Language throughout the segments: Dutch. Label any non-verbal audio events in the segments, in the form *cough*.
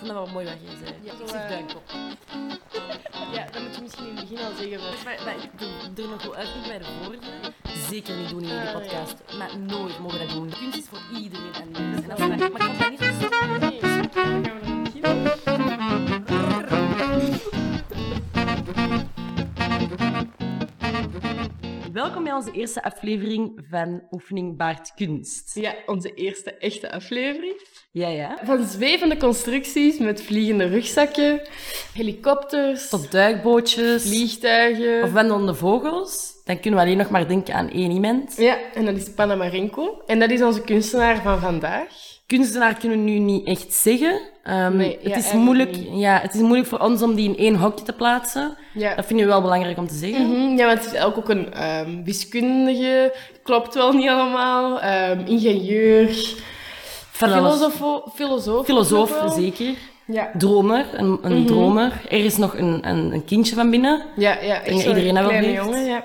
vond dat wel mooi wat jij zei. Ja. Ik zeg duimpel. Ja, dat moet je misschien in het begin al zeggen. Maar... Maar, maar ik doe er nog wel uit niet bij de woorden. Zeker niet doen in Ah, de ja. podcast. Maar nooit mogen we dat doen. Kunst is voor iedereen *laughs* anders. En als we dat- maar ik vond dat niet zo stom. Nee, dan gaan we naar het begin. Welkom bij onze eerste aflevering van Oefening Baard Kunst. Ja, onze eerste echte aflevering. Ja, ja. Van zwevende constructies met vliegende rugzakken, helikopters, Tot duikbootjes. vliegtuigen. Of wandelende vogels. Dan kunnen we alleen nog maar denken aan één iemand. Ja, en dat is Panamarenko. En dat is onze kunstenaar van vandaag. Kunstenaar kunnen we nu niet echt zeggen. Ehm, Nee, ja, het, is eigenlijk moeilijk, niet. ja, het is moeilijk voor ons om die in één hokje te plaatsen. Ja. Dat vinden we wel belangrijk om te zeggen. Mhm, Ja, want het is ook, ook een ehm, wiskundige, klopt wel niet allemaal, ehm, ingenieur, Van alles. filosofo, filosoof. Filosoof, ook wel. zeker. Ja, Dromer, een, een dromer. Er is nog een, een, een kindje van binnen. ja, ja. denk dat zo'n iedereen dat wel kleine heeft. jongen, ja.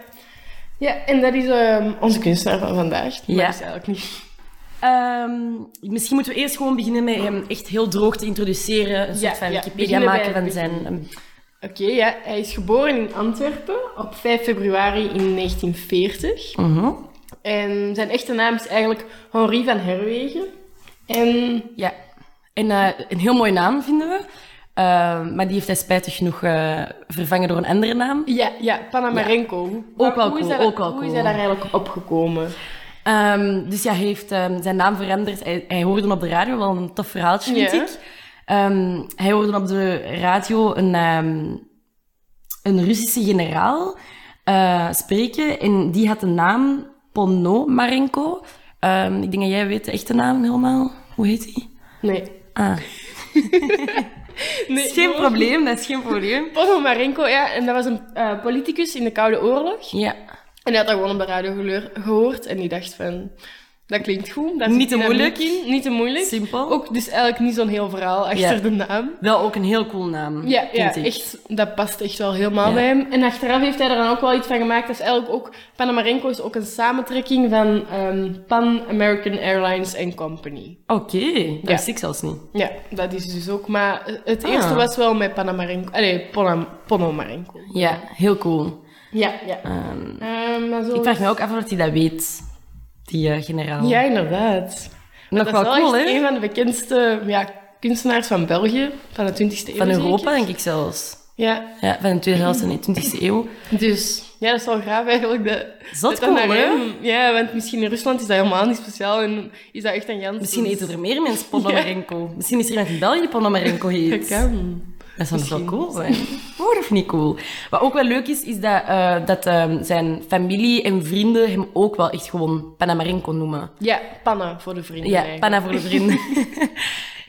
Ja, en dat is ehm, onze kunstenaar van vandaag. Maar Ja. Dat is eigenlijk niet... Ehm, misschien moeten we eerst gewoon beginnen met hem echt heel droog te introduceren. Een soort Ja, van ja. Wikipedia Beginnen bij maken van het zijn... ehm, Oké, ja. Hij is geboren in Antwerpen op 5 februari in 1940. mhm. En zijn echte naam is eigenlijk Henri van Herwegen. En Ja. En eh, een heel mooie naam, vinden we. Ehm, maar die heeft hij spijtig genoeg eh, vervangen door een andere naam. ja, ja, Panamarenko. Maar wel hoe is cool, hij- ook wel Hoe is cool. hij daar eigenlijk opgekomen? Ehm, dus ja, hij heeft ehm, zijn naam veranderd. Hij, hij hoorde op de radio, wel een tof verhaaltje, vind Ja. ik. Ehm, hij hoorde op de radio een, ehm, een Russische generaal eh, spreken. En die had de naam Ponomarenko. Ehm, ik denk dat jij weet de echte naam helemaal. Hoe heet hij? Nee. Ah, nee is geen gewoon- probleem, dat is geen probleem. Ponomarenko, ja, en dat was een eh, politicus in de Koude Oorlog. Ja, En die had dat gewoon op de radio geleur- gehoord en die dacht van, dat klinkt goed. Daar Niet zit te moeilijk. dynamiek In, niet te moeilijk. simpel. Ook dus eigenlijk niet zo'n heel verhaal achter Ja. de naam. Wel ook een heel cool naam, Ja, ja vind ik. echt, dat past echt wel helemaal Ja. bij hem. En achteraf heeft hij er dan ook wel iets van gemaakt. Dat is eigenlijk ook, Panamarenko is ook een samentrekking van ehm, Pan American Airlines and Company. Oké, dat Ja. wist ik zelfs niet. Ja, dat is dus ook. Maar het Ah. eerste was wel met Panamarenko. Allee, Ponam- Ponomarenko. Ja, heel cool. Ja, ja. Ehm, Ehm, maar zo... ik vraag me ook af of hij dat weet, die eh, generaal. Ja, inderdaad. Nog dat wel is wel cool, echt hè? een van de bekendste ja, kunstenaars van België, van de 20e eeuw. Van zeker. Europa, denk ik zelfs. Ja, Ja, van de tweede helft van de 20e eeuw. dus ja, dat is wel graaf eigenlijk. Dat, Zot dat cool, naar hè? hem- Ja, want misschien in Rusland is dat helemaal niet speciaal en is dat echt een Jans. Misschien eten er meer mensen Ponomarenko. Misschien is er iemand in België die Ponomarenko Dat heet. kan. Dat zou nog wel cool zijn. Hoor of niet cool? Wat ook wel leuk is, is dat, eh, dat eh, zijn familie en vrienden hem ook wel echt gewoon Panamarenko noemen. Ja, panna voor de vrienden. Ja, eigenlijk. panna voor de *laughs* vrienden.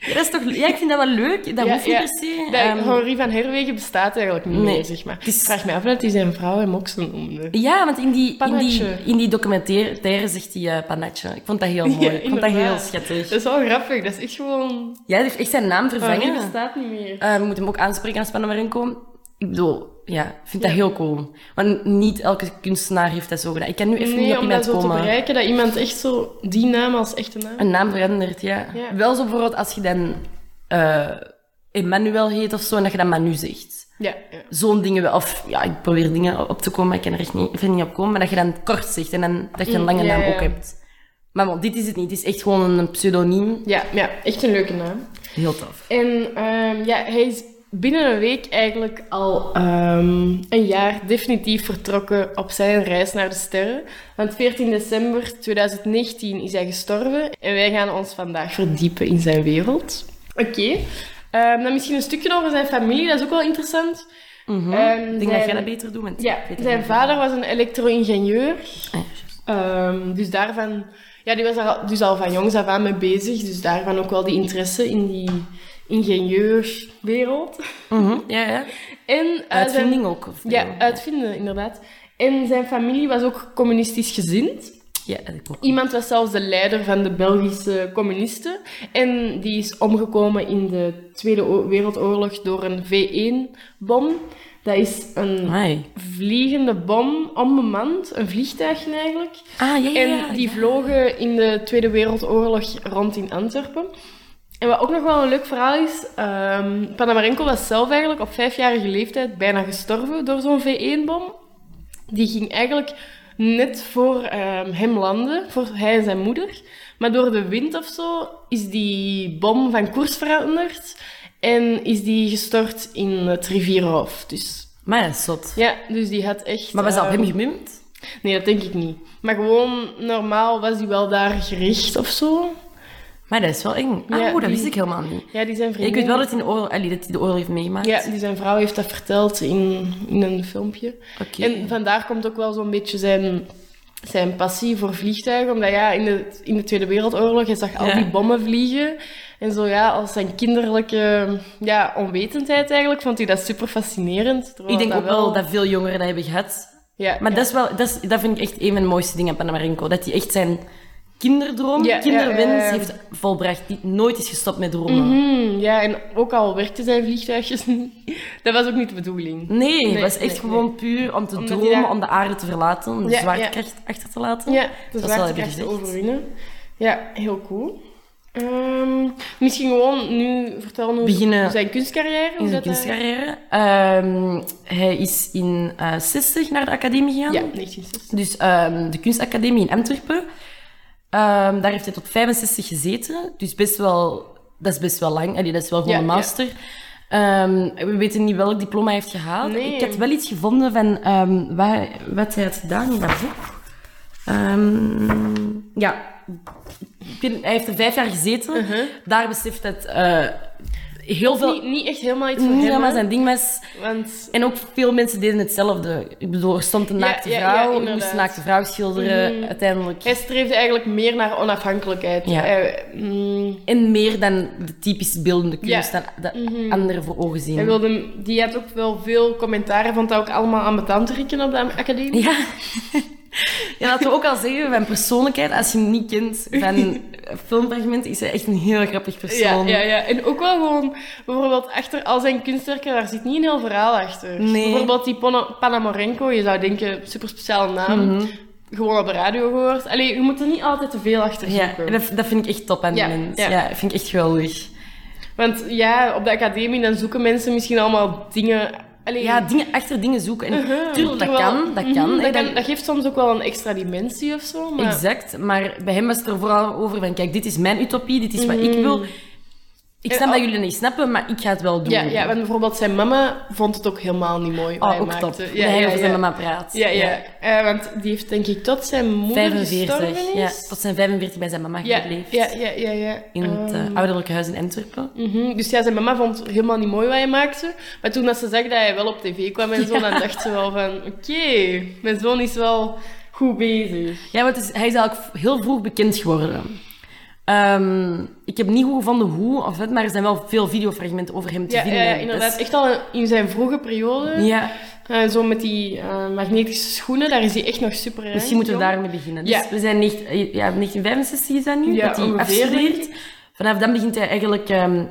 ja, dat is toch, ja, ik vind dat wel leuk. Dat Ja, hoeft niet ja. per se. Dat- Ehm, Henri van Herwegen bestaat eigenlijk niet nee. meer, zeg maar. Het is- Ik vraag me af dat hij zijn vrouw hem ook zo noemde. ja, want in die, in die, Pannetje. in die documentaire zegt hij eh, Pannetje. Ik vond dat heel mooi. *laughs* *laughs* Ja, ik vond dat heel inderdaad. schattig. Dat is wel grappig, dat is echt gewoon... Ja, hij heeft echt zijn naam Henri vervangen. bestaat niet meer. Eh, we moeten hem ook aanspreken als Panamarenko. Ik bedoel, ja, ik vind dat heel cool. Want niet elke kunstenaar heeft dat zo gedaan. Ik kan nu even niet Nee, op om iemand dat zo te komen. bereiken, dat iemand echt zo die naam als echte naam... Een naam verandert, ja. Ja. Wel zo bijvoorbeeld als je dan eh, Emmanuel heet of zo, en dat je dan Manu zegt. Ja, ja. Zo'n dingen wel. Of ja, ik probeer dingen op te komen, maar ik kan er echt niet, even niet op komen. Maar dat je dan kort zegt en dan, dat je een lange ja, naam ja. ook hebt. Maar bon, dit is het niet. Het is echt gewoon een pseudoniem. Ja, ja, echt een leuke naam. Heel tof. En ehm, ja, hij is binnen een week eigenlijk al ehm, een jaar definitief vertrokken op zijn reis naar de sterren. Want 14 december 2019 is hij gestorven en wij gaan ons vandaag verdiepen in zijn wereld. Oké, Ehm, dan misschien een stukje over zijn familie, dat is ook wel interessant. Mhm. ik Ehm, denk dat zijn- jij dat beter doet. want Ja, ik weet het zijn niet. vader was een elektro-ingenieur. Ah, juist. Ehm, dus daarvan, ja, die was daar al- dus al van jongs af aan mee bezig. Dus daarvan ook wel die interesse in die ingenieurswereld. *laughs* Mhm, Ja, ja. En, eh, zijn, Uitvinding ook. of ja, veel. uitvinden, inderdaad. En zijn familie was ook communistisch gezind. Ja, dat klopt. Iemand was zelfs de leider van de Belgische communisten. En die is omgekomen in de Tweede O- Wereldoorlog door een V1-bom. Dat is een Amai. vliegende bom, onbemand, een vliegtuigje eigenlijk. Ah, ja, ja, ja. En die vlogen in de Tweede Wereldoorlog rond in Antwerpen. En wat ook nog wel een leuk verhaal is, ehm Panamarenko was zelf eigenlijk op vijfjarige leeftijd bijna gestorven door zo'n V1-bom. Die ging eigenlijk net voor ehm, hem landen, voor hij en zijn moeder. Maar door de wind of zo is die bom van koers veranderd en is die gestort in het rivierhoofd. Dus Maar dat is zot. ja, dus die had echt... Maar was dat op ehm, hem gemunt? Nee, dat denk ik niet. Maar gewoon normaal was die wel daar gericht of zo. Maar dat is wel eng. Ah, Ja, oeh, dat die- wist ik helemaal niet. Ja, die zijn vrienden. Ik weet wel dat hij, in de oorlog, allee, dat hij de oorlog heeft meegemaakt. Ja, die zijn vrouw heeft dat verteld in, in een filmpje. Oké. En vandaar komt ook wel zo'n beetje zijn, zijn passie voor vliegtuigen. Omdat ja, in de, in de Tweede Wereldoorlog, je zag al Ja. die bommen vliegen. En zo ja, als zijn kinderlijke ja, onwetendheid eigenlijk, vond hij dat super fascinerend. Terwijl Ik denk ook wel dat veel jongeren dat hebben gehad. Oh, Ja, Maar ja. dat, is wel, dat, is, dat vind ik echt een van de mooiste dingen aan Panamarenko. Dat hij echt zijn kinderdroom, Ja, ja, kinderwens ja, ja. heeft volbracht. Die nooit is gestopt met dromen. Hmm, ja, en ook al werkten zijn vliegtuigjes *laughs* niet, dat was ook niet de bedoeling. Nee, het Nee, was echt nee, gewoon puur om te Omdat hij dromen, daar- om de aarde te verlaten, om de Ja, zwaartekracht achter te laten. Ja, de Dat zal zwaartekracht hebben gezegd. overwinnen. Ja, heel cool. Ehm, misschien gewoon nu vertellen over Beginnen zijn kunstcarrière. In hoe zijn dat eh, daar- kunstcarrière. Ehm, hij is in eh 60 naar de academie gegaan. Ja, 1960. Dus ehm, de kunstacademie in Antwerpen. Ehm, daar heeft hij tot 65 gezeten. Dus best wel, dat is best wel lang. Allee, dat is wel gewoon Ja, een ja. master. Ehm, we weten niet welk diploma hij heeft gehaald. Nee. Ik had wel iets gevonden van ehm, wat, wat hij had gedaan in dat boek. Ehm, ja, Ik weet- hij heeft er vijf jaar gezeten. Daar beseft het eh, heel veel... Uh-huh. Niet, niet echt helemaal iets Niet voor hem. helemaal hè, zijn ding was. Want En ook veel mensen deden hetzelfde. Ik bedoel, er stond een Ja, naakte ja, ja, vrouw. je moest inderdaad. een naakte vrouw schilderen, Mhm. uiteindelijk. hij streefde eigenlijk meer naar onafhankelijkheid. Ja. Hij, mm, En meer dan de typisch beeldende kunst, Ja. Mhm. dan dat anderen voor ogen zien. hij wilde, die had ook wel veel commentaren, vond dat ook allemaal aan mijn rikken op de academie. Ja. *laughs* ja, laten we ook al zeggen, van persoonlijkheid, als je hem niet kent, *laughs* van filmfragmenten, is hij echt een heel grappig Ja, persoon. ja, ja. En ook wel gewoon, bijvoorbeeld achter al zijn kunstwerken, daar zit niet een heel verhaal achter. Nee. Bijvoorbeeld die Pon- Panamorenko, je zou denken, super speciale naam. Mhm. Gewoon op de radio gehoord. Allee, je moet er niet altijd te veel achter Ja, zoeken. dat, dat vind ik echt top aan die Ja, mens. Ja. ja. vind ik echt geweldig. Want ja, op de academie dan zoeken mensen misschien allemaal dingen... Allee, Ja, dingen, achter dingen zoeken. En huh, tuurlijk, dat terwijl- kan, dat Uh-huh. Mhm, kan. hè, dat, dat- kan- dat geeft soms ook wel een extra dimensie of zo. Maar Exact, maar bij hem was het er vooral over van, kijk, dit is mijn utopie, dit is wat ik wil. Ik Mm. En snap dat al- jullie dat niet snappen, maar ik ga het wel doen. ja, ja, want bijvoorbeeld zijn mama vond het ook helemaal niet mooi. wat Oh, hij ook maakte. top. Ja, dat hij ja, over zijn ja. mama praat. Ja, ja. Eh, want die heeft denk ik tot zijn moeder 45, gestorven ja. is. Tot zijn 45 bij zijn mama ja, geleefd. ja, ja, ja, ja. In het eh, Ehm, ouderlijke huis in Antwerpen. mhm. Dus ja, zijn mama vond het helemaal niet mooi wat hij maakte. Maar toen dat ze zag dat hij wel op tv kwam en zo, dan dacht ze wel van... Oké, mijn zoon is wel goed bezig. Ja, want het is- hij is eigenlijk v- heel vroeg bekend geworden. Ehm, ik heb niet goed gevonden hoe of wat, maar er zijn wel veel videofragmenten over hem te Ja, ja, vinden. ja, Dat is- inderdaad. Echt al in zijn vroege periode. Ja, eh, zo met die eh, magnetische schoenen, daar is hij echt nog super Misschien moeten we jong. daarmee beginnen. Dus Ja. we zijn niet, ja, 1965 is dat nu, Ja, dat hij ongeveer, afstudeert. denk Vanaf dan begint hij eigenlijk... ehm,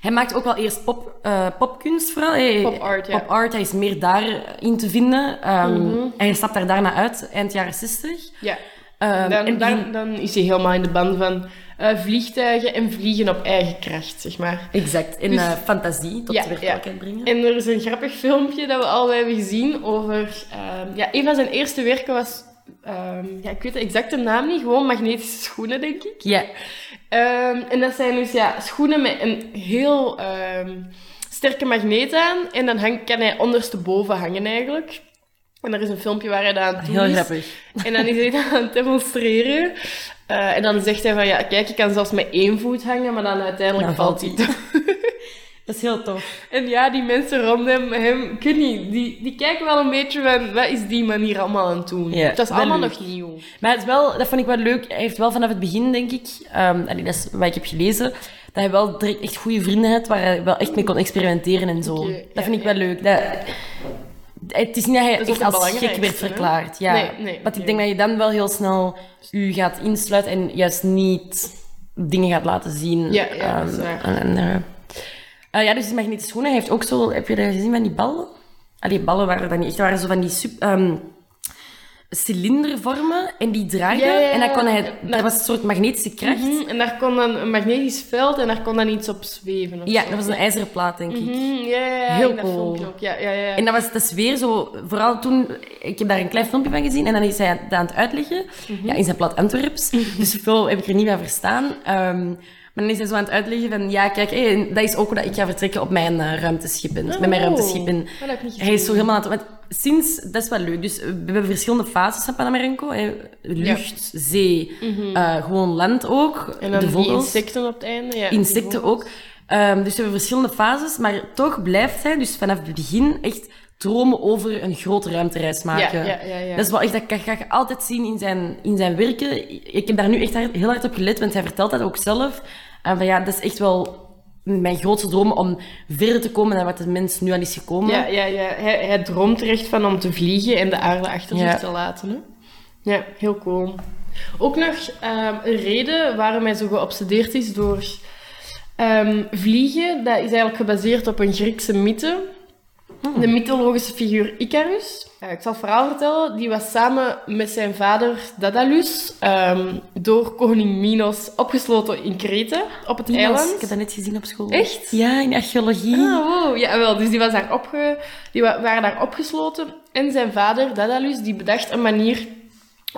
hij maakt ook wel eerst pop, eh, popkunst vooral. Hij- Pop art, ja. Mhm. Pop art, hij is meer daarin te vinden. Ehm, Hij stapt daar daarna uit, eind jaren 60. Ja. Ehm, Dan, en dan, begint- dan is hij helemaal in de band van eh, vliegtuigen en vliegen op eigen kracht, zeg maar. Exact, in Dus- eh, fantasie tot Ja, werkelijkheid ja. brengen. En er is een grappig filmpje dat we al hebben gezien over... ehm, ja, een van zijn eerste werken was... ehm, ja, ik weet de exacte naam niet, gewoon magnetische schoenen, denk ik. Ja, Ehm, en dat zijn dus ja, schoenen met een heel ehm, sterke magneet aan. En dan hang, kan hij ondersteboven hangen eigenlijk. En er is een filmpje waar hij dat aan het doen heel is. grappig. *laughs* En dan is hij dat aan het demonstreren. Eh, en dan zegt hij van, ja, kijk, ik kan zelfs met één voet hangen, maar dan uiteindelijk Dan valt valt hij hij. Dat is heel tof. en ja, die mensen rondom hem, hem ik weet niet, die, die kijken wel een beetje van, wat is die manier allemaal aan het doen? Ja, dat is wel allemaal leuk. nog nieuw. Maar het is wel, dat vond ik wel leuk. Hij heeft wel vanaf het begin, denk ik, ehm allee, dat is wat ik heb gelezen, dat hij wel direct echt goede vrienden had, waar hij wel echt mee kon experimenteren en zo. Oké, dat ja, vind ik ja. wel leuk. Dat, het is niet dat hij Dat is ook echt het als gek werd belangrijkste, hè? verklaard. Ja. Nee, nee, Want ik nee. denk dat je dan wel heel snel u gaat insluiten en juist niet dingen gaat laten zien Ja, ja, dat is ehm, waar. aan anderen. Eh, ja, dus die magnetische schoenen. Hij heeft ook zo... Heb je dat gezien van die ballen? Allee, ballen waren dat niet echt. Dat waren zo van die... Sub, ehm, cilindervormen en die draaide. Ja, ja, ja. En dan kon hij, Nou- dat was een soort magnetische kracht. Mhm, En daar kon dan een magnetisch veld en daar kon dan iets op zweven. Of Ja, zo. dat was een ijzeren plaat, denk ik. Mhm, ja, ja, ja, Heel in dat cool. filmpje ook. Ja, ja, ja. En dat was, dat is weer zo, vooral toen, ik heb daar een klein filmpje van gezien en dan is hij dat aan het uitleggen. Mhm. Ja, in zijn plat Antwerps. Dus veel heb ik er niet van verstaan. Ehm, maar dan is hij zo aan het uitleggen van, ja kijk, hé, en dat is ook hoe dat ik ga vertrekken op mijn eh, ruimteschip in. Met mijn Oh. ruimteschip in. Dat heb ik niet gezien. Hij is zo helemaal aan het... want sinds, dat is wel leuk. Dus we hebben verschillende fases van Panamarenco. hè. Lucht, zee, eh, gewoon land ook. Mhm. En dan de die vogels insecten op het einde. Ja, insecten ook. Ehm, dus we hebben verschillende fases, maar toch blijft hij dus vanaf het begin echt dromen over een grote ruimtereis maken. Ja, ja, ja, ja. Dat is wel echt, dat kan- ga je altijd zien in zijn, in zijn werken. Ik heb daar nu echt hard- heel hard op gelet, want hij vertelt dat ook zelf. En van ja, dat is echt wel mijn grootste droom om verder te komen dan wat de mens nu al is gekomen. Ja, ja, ja. Hij, hij droomt er echt van om te vliegen en de aarde achter Ja. zich te laten. Hè? Ja, heel cool. Ook nog ehm, een reden waarom hij zo geobsedeerd is door ehm, vliegen. Dat is eigenlijk gebaseerd op een Griekse mythe. De mythologische figuur Icarus. Ja, ik zal het verhaal vertellen. Die was samen met zijn vader Dadalus ehm, door koning Minos opgesloten in Kreta op het Die was- eiland. ik heb dat net gezien op school. Echt? Ja, in archeologie. Ah, wow. Ja, wel. Dus die, was daar opge... die wa- waren daar opgesloten. En zijn vader, Dadalus, die bedacht een manier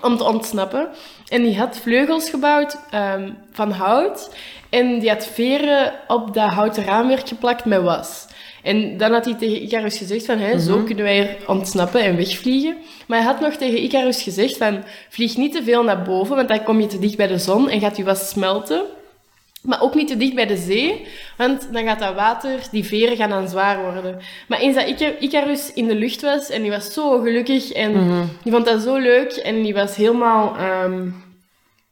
om te ontsnappen. En die had vleugels gebouwd ehm, van hout. En die had veren op dat houten raamwerk geplakt met was. En dan had hij tegen Icarus gezegd van, hè, zo kunnen wij er ontsnappen en wegvliegen. Maar hij had nog tegen Icarus gezegd van, vlieg niet te veel naar boven, want dan kom je te dicht bij de zon en gaat je was smelten. Maar ook niet te dicht bij de zee, want dan gaat dat water, die veren gaan dan zwaar worden. Maar eens dat Ica- Icarus in de lucht was, en die was zo gelukkig en die vond dat zo leuk en die was helemaal ehm,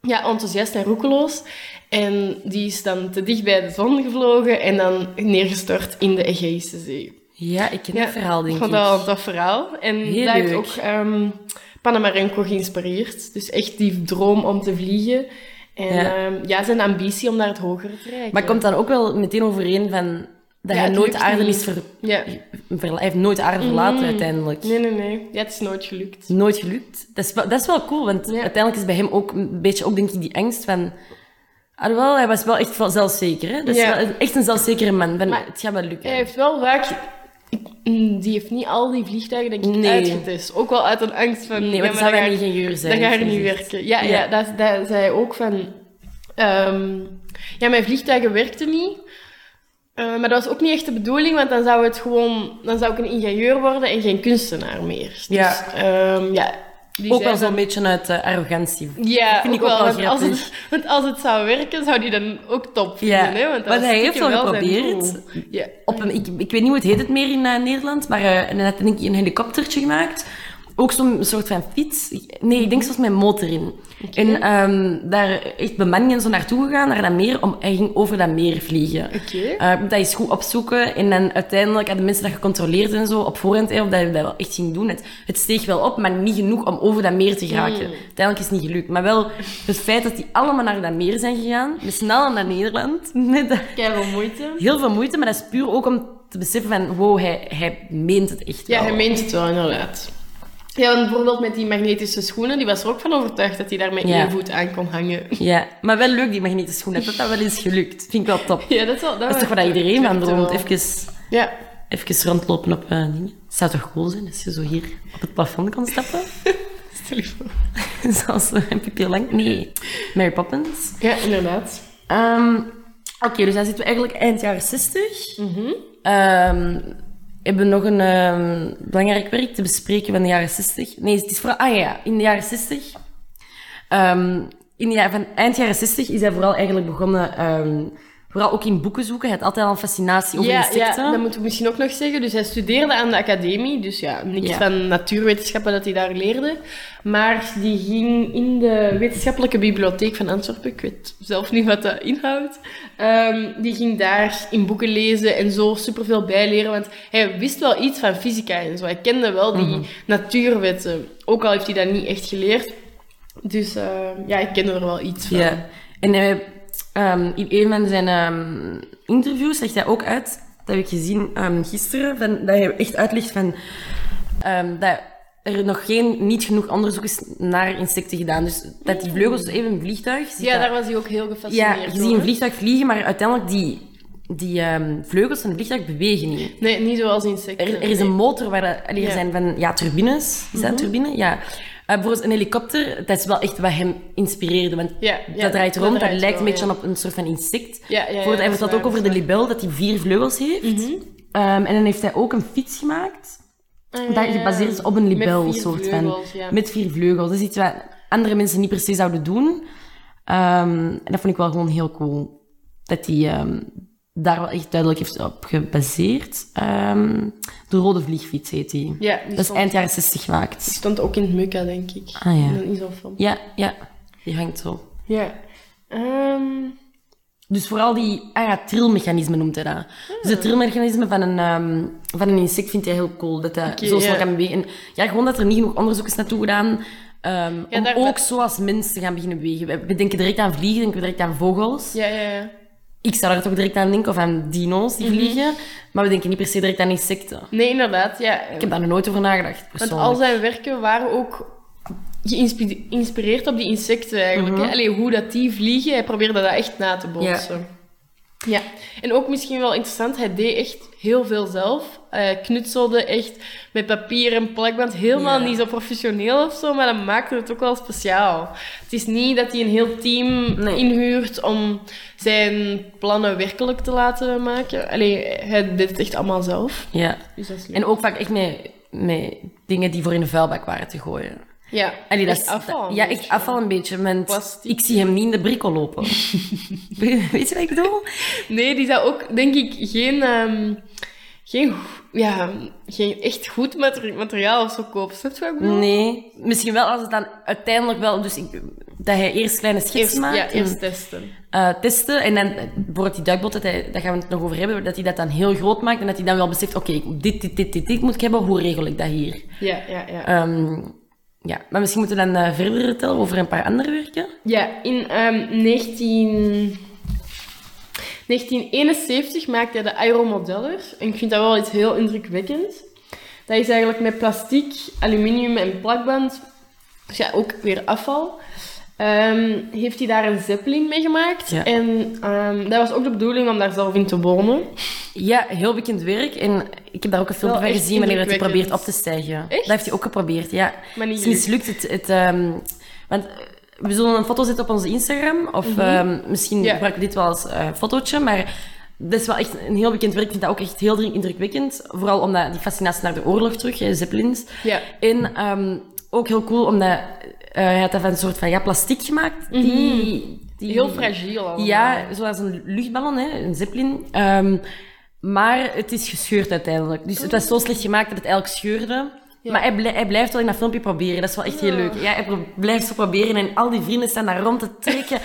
ja, enthousiast en roekeloos. En die is dan te dicht bij de zon gevlogen en dan neergestort in de Egeïsche Zee. Ja, ik ken Ja, dat verhaal, denk ik ik. vond dat wel een tof verhaal. En Heel dat heeft leuk. ook ehm Panamarenko geïnspireerd. Dus echt die droom om te vliegen. En Ja. ja, ja zijn ambitie om naar het hogere te reiken. Maar komt dan ook wel meteen overeen van dat Ja, hij het nooit lukt aarde niet. is ver, Ja. verla- Hij heeft nooit aarde verlaten uiteindelijk. Mm. Nee, nee, nee. Ja, het is nooit gelukt. Nooit gelukt. Dat is, wel, dat is wel cool, want Ja. uiteindelijk is bij hem ook een beetje ook, denk ik, die angst van... Alhoewel, hij was wel echt wel zelfzeker. Hè? Dat is Ja. wel een- echt een zelfzekere man. Van, Maar- het gaat wel lukken. Hij heeft wel vaak... ik- mm, die heeft niet al die vliegtuigen, denk ik, Nee. uitgetest. Ook wel uit een angst van... nee, ja, want maar zou dan hij ga ik- ingenieur zijn. Dat gaat er heeft niet hij gezegd. werken. Ja, ja. Ja. dat, dat zei hij ook van... ehm, ja, mijn vliegtuigen werkten niet. Eh, maar dat was ook niet echt de bedoeling, want dan zou, het gewoon, dan zou ik een ingenieur worden en geen kunstenaar meer. Ja. Dus, ehm, ja. Die Ook zei wel zo'n van- beetje uit eh, arrogantie. Ja, vind ik ook wel want als, grappig. het, want als het zou werken, zou die dan ook top vinden. Ja, Hè? Want, dat want was hij heeft stiekem wel zijn geprobeerd. doel. Ja. op een, ik, ik weet niet hoe het heet het meer in eh, Nederland, maar eh, en dan had ik een helikoptertje gemaakt. Ook zo'n soort van fiets. Nee, ik denk zelfs met motor in. En ehm, daar echt bemanning en zo naartoe gegaan, naar dat meer. Om, hij ging over dat meer vliegen. Oké. Eh, ik moet dat is goed opzoeken. En dan uiteindelijk hadden mensen dat gecontroleerd en zo op voorhand. eh, Of dat je dat wel echt ging doen. Het, het steeg wel op, maar niet genoeg om over dat meer te geraken. Uiteindelijk is het niet gelukt. Maar wel het feit dat die allemaal naar dat meer zijn gegaan. We snel naar Nederland. *laughs* Net dat- Keiveel moeite. heel veel moeite, maar dat is puur ook om te beseffen van, wow, hij, hij meent het echt Ja, wel. hij meent het wel, inderdaad. Ja, want bijvoorbeeld met die magnetische schoenen, die was er ook van overtuigd dat hij daar met Ja. één voet aan kon hangen. Ja, maar wel leuk die magnetische schoenen. Dat dat wel eens gelukt. Vind ik wel top. *laughs* Ja, dat, wel, Dat is toch wel- wat iedereen van klopte droomt. wel. Even, Ja. even rondlopen op eh, dingen. Het zou toch cool zijn als je zo hier op het plafond kan stappen? *laughs* Stel je voor. Zoals eh, Pippi Lang. Nee, Mary Poppins. Ja, inderdaad. Ehm, Oké, dus dan zitten we eigenlijk eind jaren 60. Mhm. Ehm, hebben we nog een ehm, belangrijk werk te bespreken van de jaren 60? Nee, het is vooral... Ah ja, in de jaren 60. Ehm, in de jaren, van eind jaren 60 is hij vooral eigenlijk begonnen... ehm, vooral ook in boeken zoeken. Hij had altijd al een fascinatie over Ja, ja, insecten. dat moeten we misschien ook nog zeggen. Dus hij studeerde aan de academie, dus ja, niks Ja. van natuurwetenschappen dat hij daar leerde. Maar die ging in de wetenschappelijke bibliotheek van Antwerpen, ik weet zelf niet wat dat inhoudt, Ehm, die ging daar in boeken lezen en zo superveel bijleren, want hij wist wel iets van fysica en zo. Hij kende wel die Mhm. natuurwetten, ook al heeft hij dat niet echt geleerd. Dus ehm, ja, ik kende er wel iets van. Ja. En hij, ehm, in een van zijn ehm, interviews legt hij ook uit, dat heb ik gezien ehm, gisteren, van, dat hij echt uitlegt van, ehm, dat er nog geen, niet genoeg onderzoek is naar insecten gedaan. Dus dat die vleugels, dus even een vliegtuig... zit Ja, dat- daar was hij ook heel ja gefascineerd je door, ziet een hè. vliegtuig vliegen, maar uiteindelijk die, die ehm, vleugels van het vliegtuig bewegen niet. Nee, niet zoals insecten. Er, er is een motor waar dat- allee, er Ja. Mhm. zijn van ja, turbines. Is dat een turbine? Ja. Eh, bijvoorbeeld een helikopter, dat is wel echt wat hem inspireerde. Want Ja, ja, dat draait dat rond, dat, draait lijkt een wel, beetje ja. op een soort van insect. Ja, ja, ja, Voor, hij dat is heeft dat waar, Mhm. ook over de dat is libel, dat hij vier vleugels heeft. Ehm, en dan heeft hij ook een fiets gemaakt, Ah, dat ja. gebaseerd is op een libel, Met vier soort vleugels, van. ja. Met vier vleugels. Dat is iets wat andere mensen niet per se zouden doen. Ehm, en dat vond ik wel gewoon heel cool. Dat hij ehm, daar wel echt duidelijk heeft op gebaseerd. Ehm, de rode vliegfiets heet die. Ja, die Dat is stond, eind jaren 60 gemaakt. stond ook in het Mukka, denk ik. Ah, ja. Dat is al van. Ja, ja. Die hangt zo. Ja. Ehm, Dus vooral die... Ah ja, trilmechanisme noemt hij dat. Dus Ah. het trilmechanisme van een, ehm, van een insect vindt hij heel cool. Dat hij zo snel ja. kan bewegen. En Ja, gewoon dat er niet genoeg onderzoek is naartoe gedaan. ehm, om daar- ook zo als mens te gaan beginnen bewegen. We- We denken direct aan vliegen, denken we direct aan vogels. ja, ja, ja. Ik zou daar toch direct aan denken, of aan dino's Mhm. die vliegen. Maar we denken niet per se direct aan insecten. Nee, inderdaad, ja. Ik heb daar nog nooit over nagedacht, Want persoonlijk. al zijn werken waren ook geïnspi- geïnspireerd op die insecten eigenlijk. Mhm. hè. Allee, hoe dat die vliegen, hij probeerde dat echt na te botsen. Ja. En ook misschien wel interessant, hij deed echt heel veel zelf. Eh knutselde echt met papier en plakband. Helemaal Ja. niet zo professioneel of zo, maar dat maakte het ook wel speciaal. Het is niet dat hij een heel team Nee. inhuurt om zijn plannen werkelijk te laten maken. Allee, hij deed het echt allemaal zelf. Ja. Dus dat is leuk. En ook vaak echt met, met dingen die voor in de vuilbak waren te gooien. ja, Allee, dat echt is- afval. Ja, dus, echt afval een beetje. Want Plastic. ik zie hem niet in de brikkel *laughs* lopen. *laughs* Weet weet je wat ik bedoel? Nee, die zou ook, denk ik, geen, ehm, geen, go- ja, geen echt goed mater- materiaal of zo kopen. Snap je wat ik bedoel? Nee. Misschien wel als het dan uiteindelijk wel... Dus ik, dat hij eerst kleine Eerst, schetsen ja, maakt. eerst testen. en, eh, testen. En dan eh, bijvoorbeeld die duikbot, dat hij, daar gaan we het nog over hebben. Dat hij dat dan heel groot maakt. En dat hij dan wel beseft, oké, ik- dit, dit, dit, dit, dit moet ik hebben. Hoe regel ik dat hier? Ja, ja, ja. Ehm, ja, maar misschien moeten we dan eh, verder vertellen over een paar andere werken. Ja, in ehm 19... 1971 maakte hij de aeromodeller. En ik vind dat wel iets heel indrukwekkends. Dat is eigenlijk met plastiek, aluminium en plakband. Dus ja, ook weer afval. Ehm, heeft hij daar een zeppelin mee gemaakt. Ja. En ehm, dat was ook de bedoeling om daar zelf in te wonen. Ja, heel bekend werk. En ik heb daar ook een filmpje Wel van echt gezien wanneer dat hij indrukwekkend. probeert op te stijgen. Echt? Dat heeft hij ook geprobeerd, ja. Maar niet het is mislukt. Het, het, ehm, want eh, we zullen een foto zetten op onze Instagram. Of ehm, misschien Mhm. Ja. gebruiken we dit wel als eh, fotootje. Maar dat is wel echt een heel bekend werk. Ik vind dat ook echt heel indrukwekkend. Vooral omdat die fascinatie naar de oorlog terug, hè, Zeppelins. Ja. En ehm, ook heel cool omdat eh, hij had dat van een soort van ja, plastic gemaakt. die, die, Mhm. Heel fragiel allemaal. eh, ja, zoals een luchtballon, hè, een zeppelin. Ehm, maar het is gescheurd uiteindelijk. Dus het was zo slecht gemaakt dat het eigenlijk scheurde. Maar hij, blij- hij blijft wel in dat filmpje proberen. Dat is wel echt heel leuk. Ja, hij pro- blijft zo proberen en al die vrienden staan daar rond te *laughs* trekken